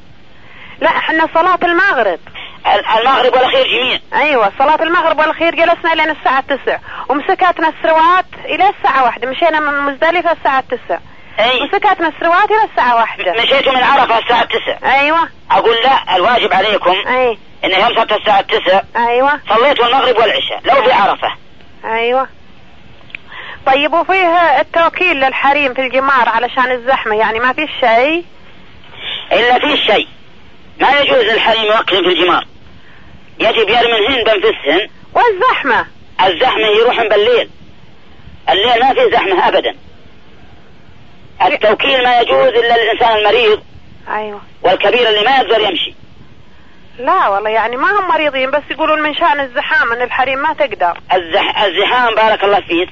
Speaker 8: لا احنا صلاة المغرب
Speaker 2: ال- المغرب والأخير جميع
Speaker 8: ايوه صلاة المغرب والاخير جلسنا لين الساعة تسع ومسكتنا السروات الى الساعة واحدة مشينا من مزدلفة الساعة تسع
Speaker 2: أي
Speaker 8: مسكتنا السروات الى الساعة واحدة
Speaker 2: مشيتوا من عرفة الساعة 9
Speaker 8: ايوه
Speaker 2: أقول لا الواجب عليكم
Speaker 8: اي
Speaker 2: إن يوم سبت الساعة 9
Speaker 8: ايوه
Speaker 2: صليتوا المغرب والعشاء لو في عرفة
Speaker 8: ايوه طيب وفيه التوكيل للحريم في الجمار علشان الزحمة يعني ما في شيء
Speaker 2: إلا في شيء ما يجوز للحريم يوكل في الجمار يجب يرمي الهند بنفسهن
Speaker 8: والزحمة
Speaker 2: الزحمة يروحن بالليل الليل ما في زحمة أبدا التوكيل ما يجوز إلا للإنسان المريض
Speaker 8: ايوه
Speaker 2: والكبير اللي ما يقدر يمشي
Speaker 8: لا والله يعني ما هم مريضين بس يقولون من شأن الزحام ان الحريم ما تقدر
Speaker 2: الزح... الزحام بارك الله فيك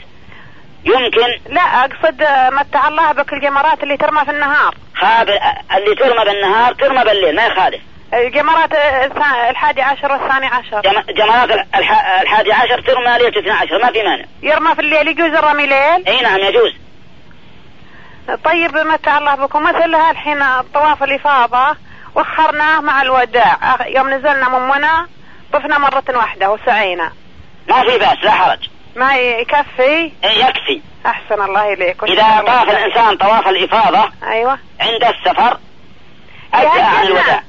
Speaker 2: يمكن
Speaker 8: لا اقصد آه، متع الله بك الجمرات اللي ترمى في النهار
Speaker 2: خاب... اللي ترمى بالنهار ترمى بالليل ما يخالف
Speaker 8: الجمرات آه، الثا- الحادي عشر والثاني عشر
Speaker 2: جم... جمرات الح... الحادي عشر ترمى ليلة الاثنى عشر ما في مانع
Speaker 8: يرمى في الليل يجوز الرمي ليل
Speaker 2: اي نعم يجوز
Speaker 8: طيب متع الله بكم مثلها الحين طواف الإفاضة وخرناه مع الوداع آخ- يوم نزلنا من منى طفنا مرة واحدة وسعينا
Speaker 2: ما في بأس لا حرج
Speaker 8: ما ي- يكفي
Speaker 2: إيه يكفي
Speaker 8: أحسن الله إليك
Speaker 2: إذا طاف الإنسان طواف الإفاضة
Speaker 8: أيوة
Speaker 2: عند السفر أدى عن الوداع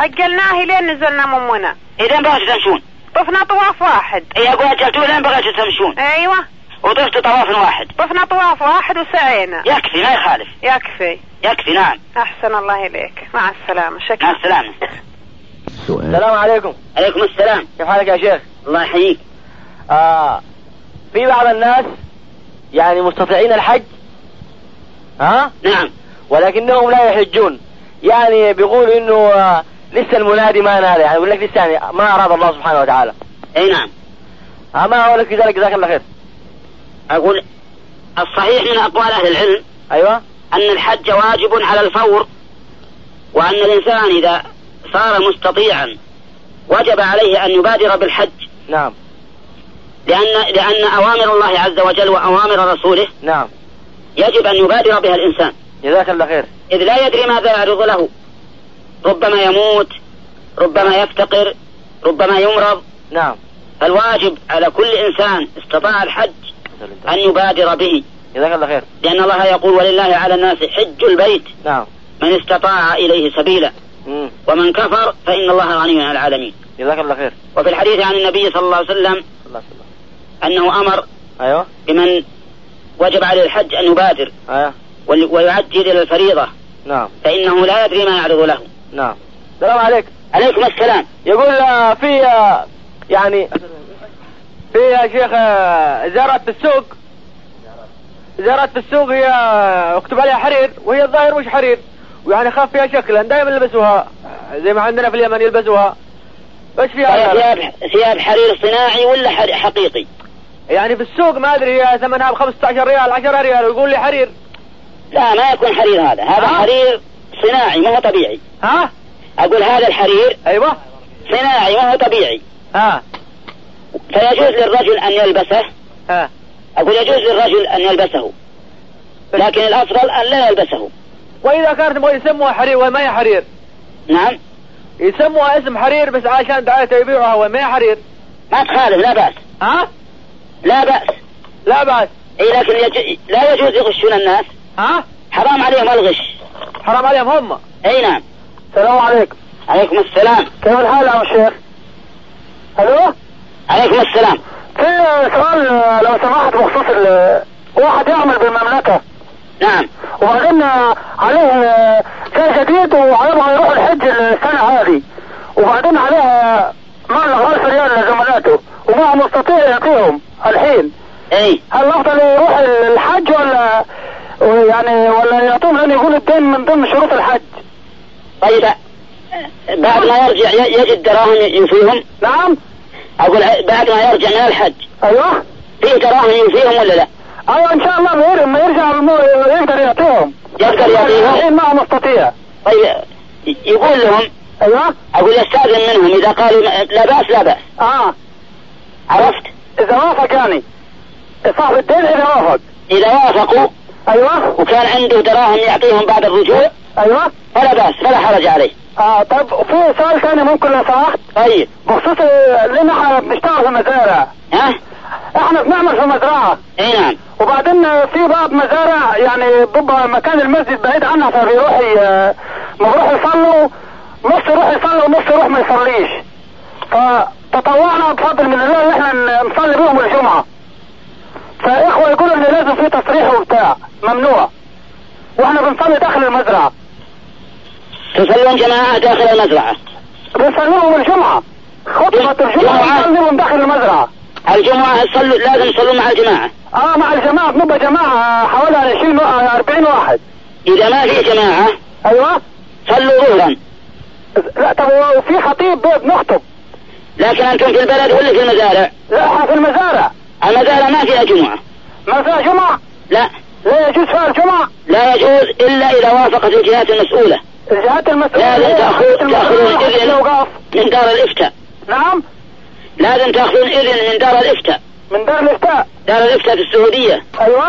Speaker 8: أجلناه لين نزلنا من منى
Speaker 2: إذا بغيتوا تمشون
Speaker 8: طفنا طواف واحد
Speaker 2: إيه أقول أجلتوه لين بغيتوا تمشون
Speaker 8: أيوة
Speaker 2: وطفت طواف واحد
Speaker 8: طفنا طواف واحد وسعينا
Speaker 2: يكفي ما يخالف
Speaker 8: يكفي
Speaker 2: يكفي نعم
Speaker 8: أحسن الله إليك مع السلامة شكرا
Speaker 2: مع السلامة
Speaker 9: السلام عليكم
Speaker 2: عليكم السلام
Speaker 9: كيف حالك يا شيخ؟
Speaker 2: الله يحييك
Speaker 9: آه في بعض الناس يعني مستطيعين الحج ها؟
Speaker 2: نعم
Speaker 9: ولكنهم لا يحجون يعني بيقولوا انه آه، لسه المنادي ما نادى يعني يقول لك لسه يعني ما اراد الله سبحانه وتعالى
Speaker 2: اي نعم
Speaker 9: آه، ما اقول لك في ذلك جزاك الله خير
Speaker 2: أقول الصحيح من أقوال أهل العلم
Speaker 9: ايوه
Speaker 2: أن الحج واجب على الفور وأن الإنسان إذا صار مستطيعا وجب عليه أن يبادر بالحج
Speaker 9: نعم
Speaker 2: لأن لأن أوامر الله عز وجل وأوامر رسوله
Speaker 9: نعم
Speaker 2: يجب أن يبادر بها الإنسان
Speaker 9: جزاك الله خير
Speaker 2: إذ لا يدري ماذا يعرض له ربما يموت ربما يفتقر ربما يمرض
Speaker 9: نعم
Speaker 2: فالواجب على كل إنسان استطاع الحج
Speaker 9: نعم.
Speaker 2: أن يبادر به
Speaker 9: جزاك الله خير
Speaker 2: لأن الله يقول ولله على الناس حج البيت
Speaker 9: نعم
Speaker 2: من استطاع إليه سبيلا
Speaker 9: مم.
Speaker 2: ومن كفر فإن الله غني عن العالمين
Speaker 9: جزاك الله خير
Speaker 2: وفي الحديث عن النبي صلى الله عليه وسلم
Speaker 9: الله يسلمك
Speaker 2: أنه أمر
Speaker 9: ايوه
Speaker 2: بمن وجب عليه الحج أن يبادر
Speaker 10: أيوه.
Speaker 9: ايوه
Speaker 2: ويعجل إلى الفريضة
Speaker 9: نعم
Speaker 2: فإنه لا يدري ما يعرض له
Speaker 9: نعم السلام عليكم عليكم السلام
Speaker 10: يقول آه، في آه، يعني في يا شيخ آه، زرعة في السوق زرعة في السوق هي آه، مكتوب عليها حرير وهي الظاهر مش حرير ويعني خاف فيها شكلا دائما يلبسوها زي ما عندنا في اليمن يلبسوها ايش فيها
Speaker 9: طيب ثياب ثياب حرير صناعي ولا حر- حقيقي؟
Speaker 10: يعني في السوق ما ادري هي ثمنها ب 15 ريال 10 ريال ويقول لي حرير
Speaker 9: لا ما يكون حرير هذا هذا
Speaker 10: ها؟
Speaker 9: حرير صناعي ما هو طبيعي
Speaker 10: ها
Speaker 9: اقول هذا الحرير
Speaker 10: ايوه
Speaker 9: صناعي ما هو طبيعي
Speaker 10: ها
Speaker 9: فيجوز للرجل ان يلبسه
Speaker 10: ها
Speaker 9: اقول يجوز للرجل ان يلبسه لكن الافضل ان لا يلبسه
Speaker 10: واذا كانت يبغوا يسموها حرير وهي ما هي حرير
Speaker 9: نعم
Speaker 10: يسموها اسم حرير بس عشان دعايته يبيعوها وهي ما هي حرير
Speaker 9: ما تخالف لا باس
Speaker 10: ها
Speaker 9: لا باس
Speaker 10: لا باس
Speaker 9: اي لكن يج... لا يجوز يغشون الناس
Speaker 10: ها
Speaker 9: حرام عليهم الغش
Speaker 10: حرام عليهم هم
Speaker 9: اي نعم
Speaker 2: السلام عليكم
Speaker 9: عليكم السلام
Speaker 2: كيف الحال يا أبو الشيخ؟ الو
Speaker 9: عليكم السلام
Speaker 2: في سؤال لو سمحت بخصوص ال- واحد يعمل بالمملكه
Speaker 9: نعم
Speaker 2: وبعدين عليه شيء جديد ويبغى يروح الحج السنه هذه وبعدين عليه مبلغ 1000 ريال لزملاته وما هو مستطيع يعطيهم الحين
Speaker 9: اي
Speaker 2: هل الافضل يروح الحج ولا يعني ولا يعطيهم لان يقول الدين من ضمن شروط الحج
Speaker 9: طيب بعد ما يرجع ي- يجد دراهم يوفيهم
Speaker 2: نعم
Speaker 9: اقول ع- بعد ما يرجع من الحج
Speaker 2: ايوه
Speaker 9: فيه دراهم يوفيهم ولا لا؟
Speaker 2: ايوه ان شاء الله بير- لما يرجع المو... يقدر يعطيهم
Speaker 9: يقدر يعطيهم؟
Speaker 2: الحين ما هو مستطيع
Speaker 9: طيب ي- يقول لهم
Speaker 2: ايوه
Speaker 9: اقول استاذن منهم اذا قالوا لا- لا باس لا باس
Speaker 2: اه
Speaker 9: عرفت؟
Speaker 2: اذا وافق يعني صاحب الدين اذا وافق
Speaker 9: اذا وافقوا
Speaker 2: ايوه
Speaker 9: وكان عنده دراهم يعطيهم بعد الرجوع
Speaker 2: ايوه
Speaker 9: فلا باس فلا حرج عليه
Speaker 2: اه طب في سؤال ثاني ممكن لو سمحت
Speaker 9: طيب
Speaker 2: بخصوص آه، لان احنا بنشتغل في مزارع
Speaker 9: ها
Speaker 2: احنا بنعمل في مزرعه
Speaker 9: اي نعم
Speaker 2: وبعدين آه، في بعض مزارع يعني بيبقى مكان المسجد بعيد عنها فبيروح ي- ما بيروح يصلوا نص يروح يصلي ونص يروح ما يصليش فتطوعنا بفضل من الله ان احنا نصلي بيهم الجمعه فاخوه يقولوا ان لازم في تصريح وبتاع ممنوع واحنا بنصلي داخل المزرعه
Speaker 9: تصلون جماعة داخل المزرعة
Speaker 2: بنصليهم الجمعه خطبه الجمعه بنصليهم داخل المزرعه
Speaker 9: الجمعة تصلوا لازم تصلوا مع الجماعة
Speaker 2: اه مع الجماعه بنبقى جماعه حوالي 20 و- 40 واحد
Speaker 9: إذا ما في جماعة
Speaker 2: ايوه
Speaker 9: صلوا ظهرا
Speaker 2: لا طب هو في خطيب بي- بنخطب
Speaker 9: لكن أنتم في البلد ولا في المزارع
Speaker 2: لا احنا في المزارع
Speaker 9: المزارع ما فيها جمعة
Speaker 2: ما فيها جمعه
Speaker 9: لا
Speaker 2: لا يجوز فيها الجمعه
Speaker 9: لا يجوز إلا إذا وافقت الجهات المسؤولة
Speaker 2: الجهات المسؤوله
Speaker 9: لا لا تأخذ-
Speaker 2: الجهات المسؤولة
Speaker 9: تأخذون إذن
Speaker 2: الأوقاف.
Speaker 9: من دار الإفتاء
Speaker 2: نعم
Speaker 9: لازم تأخذون إذن من دار الإفتاء
Speaker 2: من دار الافتاء
Speaker 9: دار الإفتاء في السعودية
Speaker 2: ايوه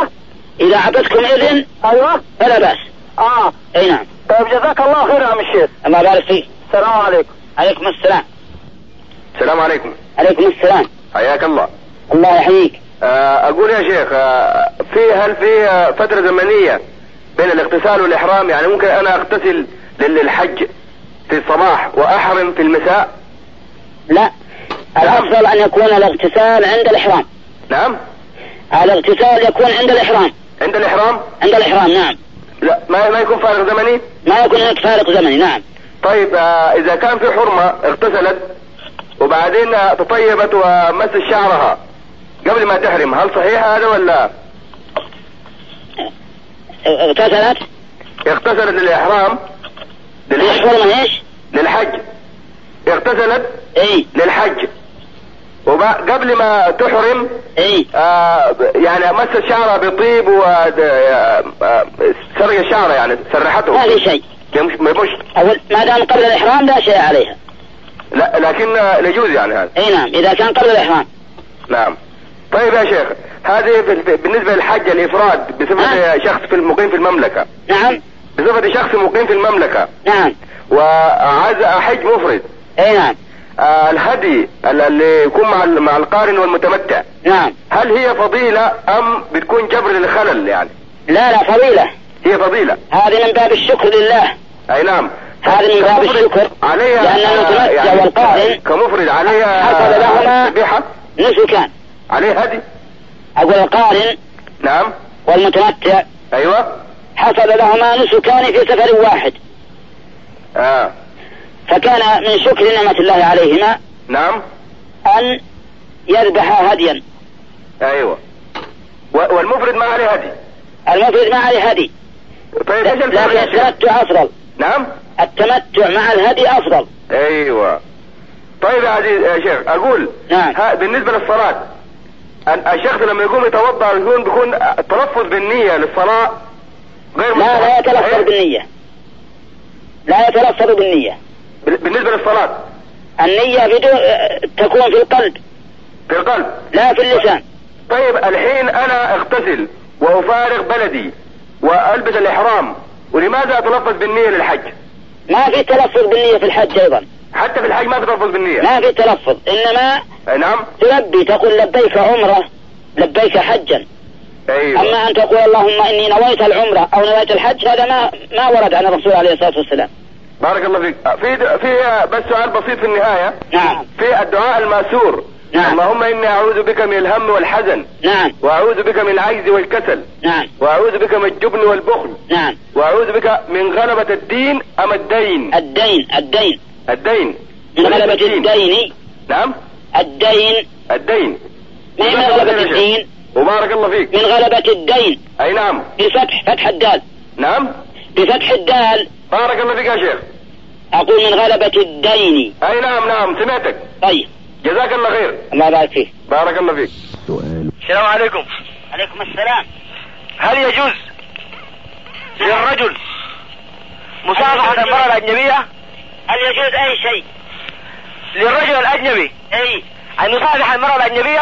Speaker 9: إذا أعطتكم إذن
Speaker 2: ايوه
Speaker 9: فلا بأس
Speaker 2: اه
Speaker 9: أي نعم
Speaker 2: طيب جزاك الله خير يا عم الشيخ
Speaker 9: الله يبارك فيك
Speaker 2: السلام عليكم
Speaker 9: عليكم السلام
Speaker 1: السلام عليكم
Speaker 9: عليكم السلام
Speaker 1: حياك الله
Speaker 9: الله يحييك
Speaker 1: آه، اقول يا شيخ آه، في هل في آه، فتره زمنيه بين الاغتسال والاحرام يعني ممكن انا اغتسل لل- للحج في الصباح واحرم في المساء
Speaker 9: لا الأفضل أن يكون الاغتسال عند الإحرام
Speaker 1: نعم
Speaker 9: الاغتسال يكون عند الإحرام
Speaker 1: عند الاحرام
Speaker 9: عند الإحرام نعم
Speaker 1: لا ما ما يكون فارق زمني
Speaker 9: ما يكون هناك فارق زمني نعم
Speaker 1: طيب آه، اذا كان في حرمه اغتسلت وبعدين آه، تطيبت ومست شعرها قبل ما تحرم هل صحيح هذا ولا
Speaker 9: اغتسلت
Speaker 1: اغتسلت للاحرام للحج
Speaker 9: الحرمة ايش؟
Speaker 1: للحج اغتسلت
Speaker 9: اي
Speaker 1: للحج وبقى قبل ما تحرم
Speaker 9: اي
Speaker 1: آه ب- يعني مست شعرها بطيب و آه، آه، سرق شعرها يعني سرحته
Speaker 9: ما في شيء
Speaker 1: يمش- ما يبش
Speaker 9: أقول ما دام قبل الإحرام لا شيء عليها
Speaker 1: لا لكن آه، يجوز يعني هذا
Speaker 9: اي نعم إذا كان قبل الإحرام
Speaker 1: نعم طيب يا شيخ هذه في- في- بالنسبة للحج الإفراد بصفة شخص في المقيم في المملكة
Speaker 9: نعم
Speaker 1: بصفة شخص مقيم في المملكة
Speaker 9: نعم
Speaker 1: وعايز أحج مفرد
Speaker 9: اي نعم
Speaker 1: آه، الهدي ال- اللي يكون مع ال- مع القارن والمتمتع
Speaker 9: نعم
Speaker 1: هل هي فضيلة أم بتكون جبر للخلل يعني
Speaker 9: لا لا فضيلة
Speaker 1: هي فضيلة
Speaker 9: هذه من باب الشكر لله
Speaker 1: أي نعم
Speaker 9: هذه من باب الشكر
Speaker 1: عليها
Speaker 9: لأن
Speaker 1: آه،
Speaker 9: المتمتع
Speaker 1: يعني آه،
Speaker 9: والقارن
Speaker 1: كمفرد عليها
Speaker 9: حصل لهما
Speaker 1: ذبيحة
Speaker 9: نسكان
Speaker 1: عليه هدي
Speaker 9: أقول القارن
Speaker 1: نعم
Speaker 9: والمتمتع
Speaker 1: أيوه
Speaker 9: حصل لهما نسكان في سفر واحد
Speaker 1: آه
Speaker 9: فكان من شكر نعمة الله عليهما
Speaker 1: نعم
Speaker 9: أن يذبحا هديا
Speaker 1: ايوه و- والمفرد ما عليه هدي
Speaker 9: المفرد ما عليه هدي
Speaker 1: طيب ايش الفرق
Speaker 9: لكن
Speaker 1: يا شيخ؟
Speaker 9: التمتع أفضل
Speaker 1: نعم
Speaker 9: التمتع مع الهدي أفضل
Speaker 1: ايوه طيب يا عزيز يا شيخ اقول
Speaker 9: نعم
Speaker 1: ها بالنسبه للصلاه ال- الشخص لما يقوم يتوضا يكون بيكون تلفظ بالنيه للصلاه غير أيوة.
Speaker 9: لا لا
Speaker 1: مستحب.
Speaker 9: يتلفظ بالنية لا يتلفظ بالنية
Speaker 1: بال- بالنسبه للصلاه
Speaker 9: النية بدون تكون في القلب
Speaker 1: في القلب
Speaker 9: لا في اللسان
Speaker 1: طيب الحين انا اغتسل وافارغ بلدي والبس الاحرام ولماذا اتلفظ بالنيه للحج؟
Speaker 9: ما في تلفظ بالنية في الحج أيضا
Speaker 1: حتى في الحج ما في تلفظ بالنيه
Speaker 9: ما في تلفظ إنما
Speaker 1: نعم
Speaker 9: تلبي تقول لبيك عمرة لبيك حجا
Speaker 1: ايوه
Speaker 9: أما أن تقول اللهم إني نويت العمرة أو نويت الحج هذا ما ما ورد عن الرسول عليه الصلاة والسلام
Speaker 1: بارك الله فيك في في بس سؤال بسيط في النهايه
Speaker 9: نعم
Speaker 1: في الدعاء الماسور
Speaker 9: نعم.
Speaker 1: اللهم اني اعوذ بك من الهم والحزن
Speaker 9: نعم
Speaker 1: واعوذ بك من العجز والكسل
Speaker 9: نعم
Speaker 1: واعوذ بك من الجبن والبخل
Speaker 9: نعم
Speaker 1: واعوذ بك من غلبة الدين ام الدين
Speaker 9: الدين الدين
Speaker 1: الدين
Speaker 9: من غلبة الدين
Speaker 1: نعم
Speaker 9: الدين
Speaker 1: الدين
Speaker 9: ما هي من نعم، غلبة الدين نعم.
Speaker 1: وبارك الله فيك
Speaker 9: من غلبة الدين
Speaker 1: اي نعم
Speaker 9: بفتح فتح الدال
Speaker 1: نعم
Speaker 9: بفتح الدال
Speaker 1: بارك الله فيك يا شيخ
Speaker 9: أقول من غلبة الدين
Speaker 1: اي نعم نعم سمعتك
Speaker 9: طيب
Speaker 1: جزاك الله خير
Speaker 9: الله يبارك فيك
Speaker 1: بارك الله فيك
Speaker 11: السلام عليكم
Speaker 9: عليكم السلام
Speaker 11: هل يجوز للرجل مصافحة المرأة الأجنبية
Speaker 9: هل يجوز أي شيء
Speaker 11: للرجل الأجنبي
Speaker 9: أي
Speaker 11: أن يصافح المرأة الأجنبية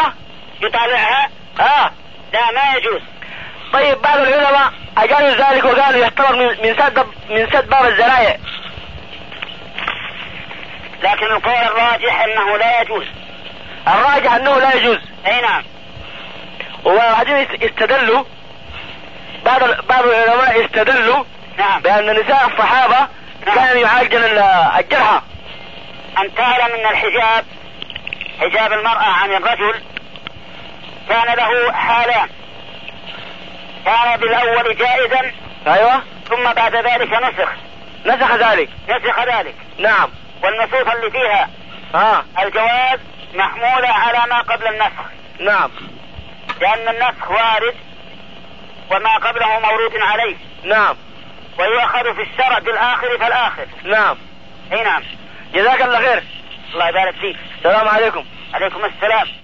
Speaker 9: يطالعها
Speaker 11: آه
Speaker 9: لا ما يجوز
Speaker 11: طيب بعض العلماء أجازوا ذلك وقالوا يعتبر من من سد من سد باب الزرايع
Speaker 9: لكن القول الراجح أنه لا يجوز
Speaker 11: الراجح أنه لا يجوز
Speaker 9: أي نعم
Speaker 11: وبعدين است- استدلوا بعض ال- بعض العلماء استدلوا
Speaker 9: نعم
Speaker 11: بأن نساء الصحابة كانوا يعالجن ال- الجرحى
Speaker 9: أن تعلم أن الحجاب حجاب المرأة عن الرجل كان له حالان كان بالأول جائزا
Speaker 11: أيوه
Speaker 9: ثم بعد ذلك نسخ
Speaker 11: نسخ ذلك
Speaker 9: نسخ ذلك
Speaker 11: نعم
Speaker 9: والنصوص اللي فيها
Speaker 11: آه
Speaker 9: الجواز محمولة على ما قبل النسخ
Speaker 11: نعم
Speaker 9: لأن النسخ وارد وما قبله مورود عليه
Speaker 11: نعم
Speaker 9: ويؤخذ في الشرع بالآخر فالآخر
Speaker 11: نعم
Speaker 9: أي نعم
Speaker 11: جزاك الله خير
Speaker 9: الله يبارك فيك
Speaker 11: السلام عليكم
Speaker 9: عليكم السلام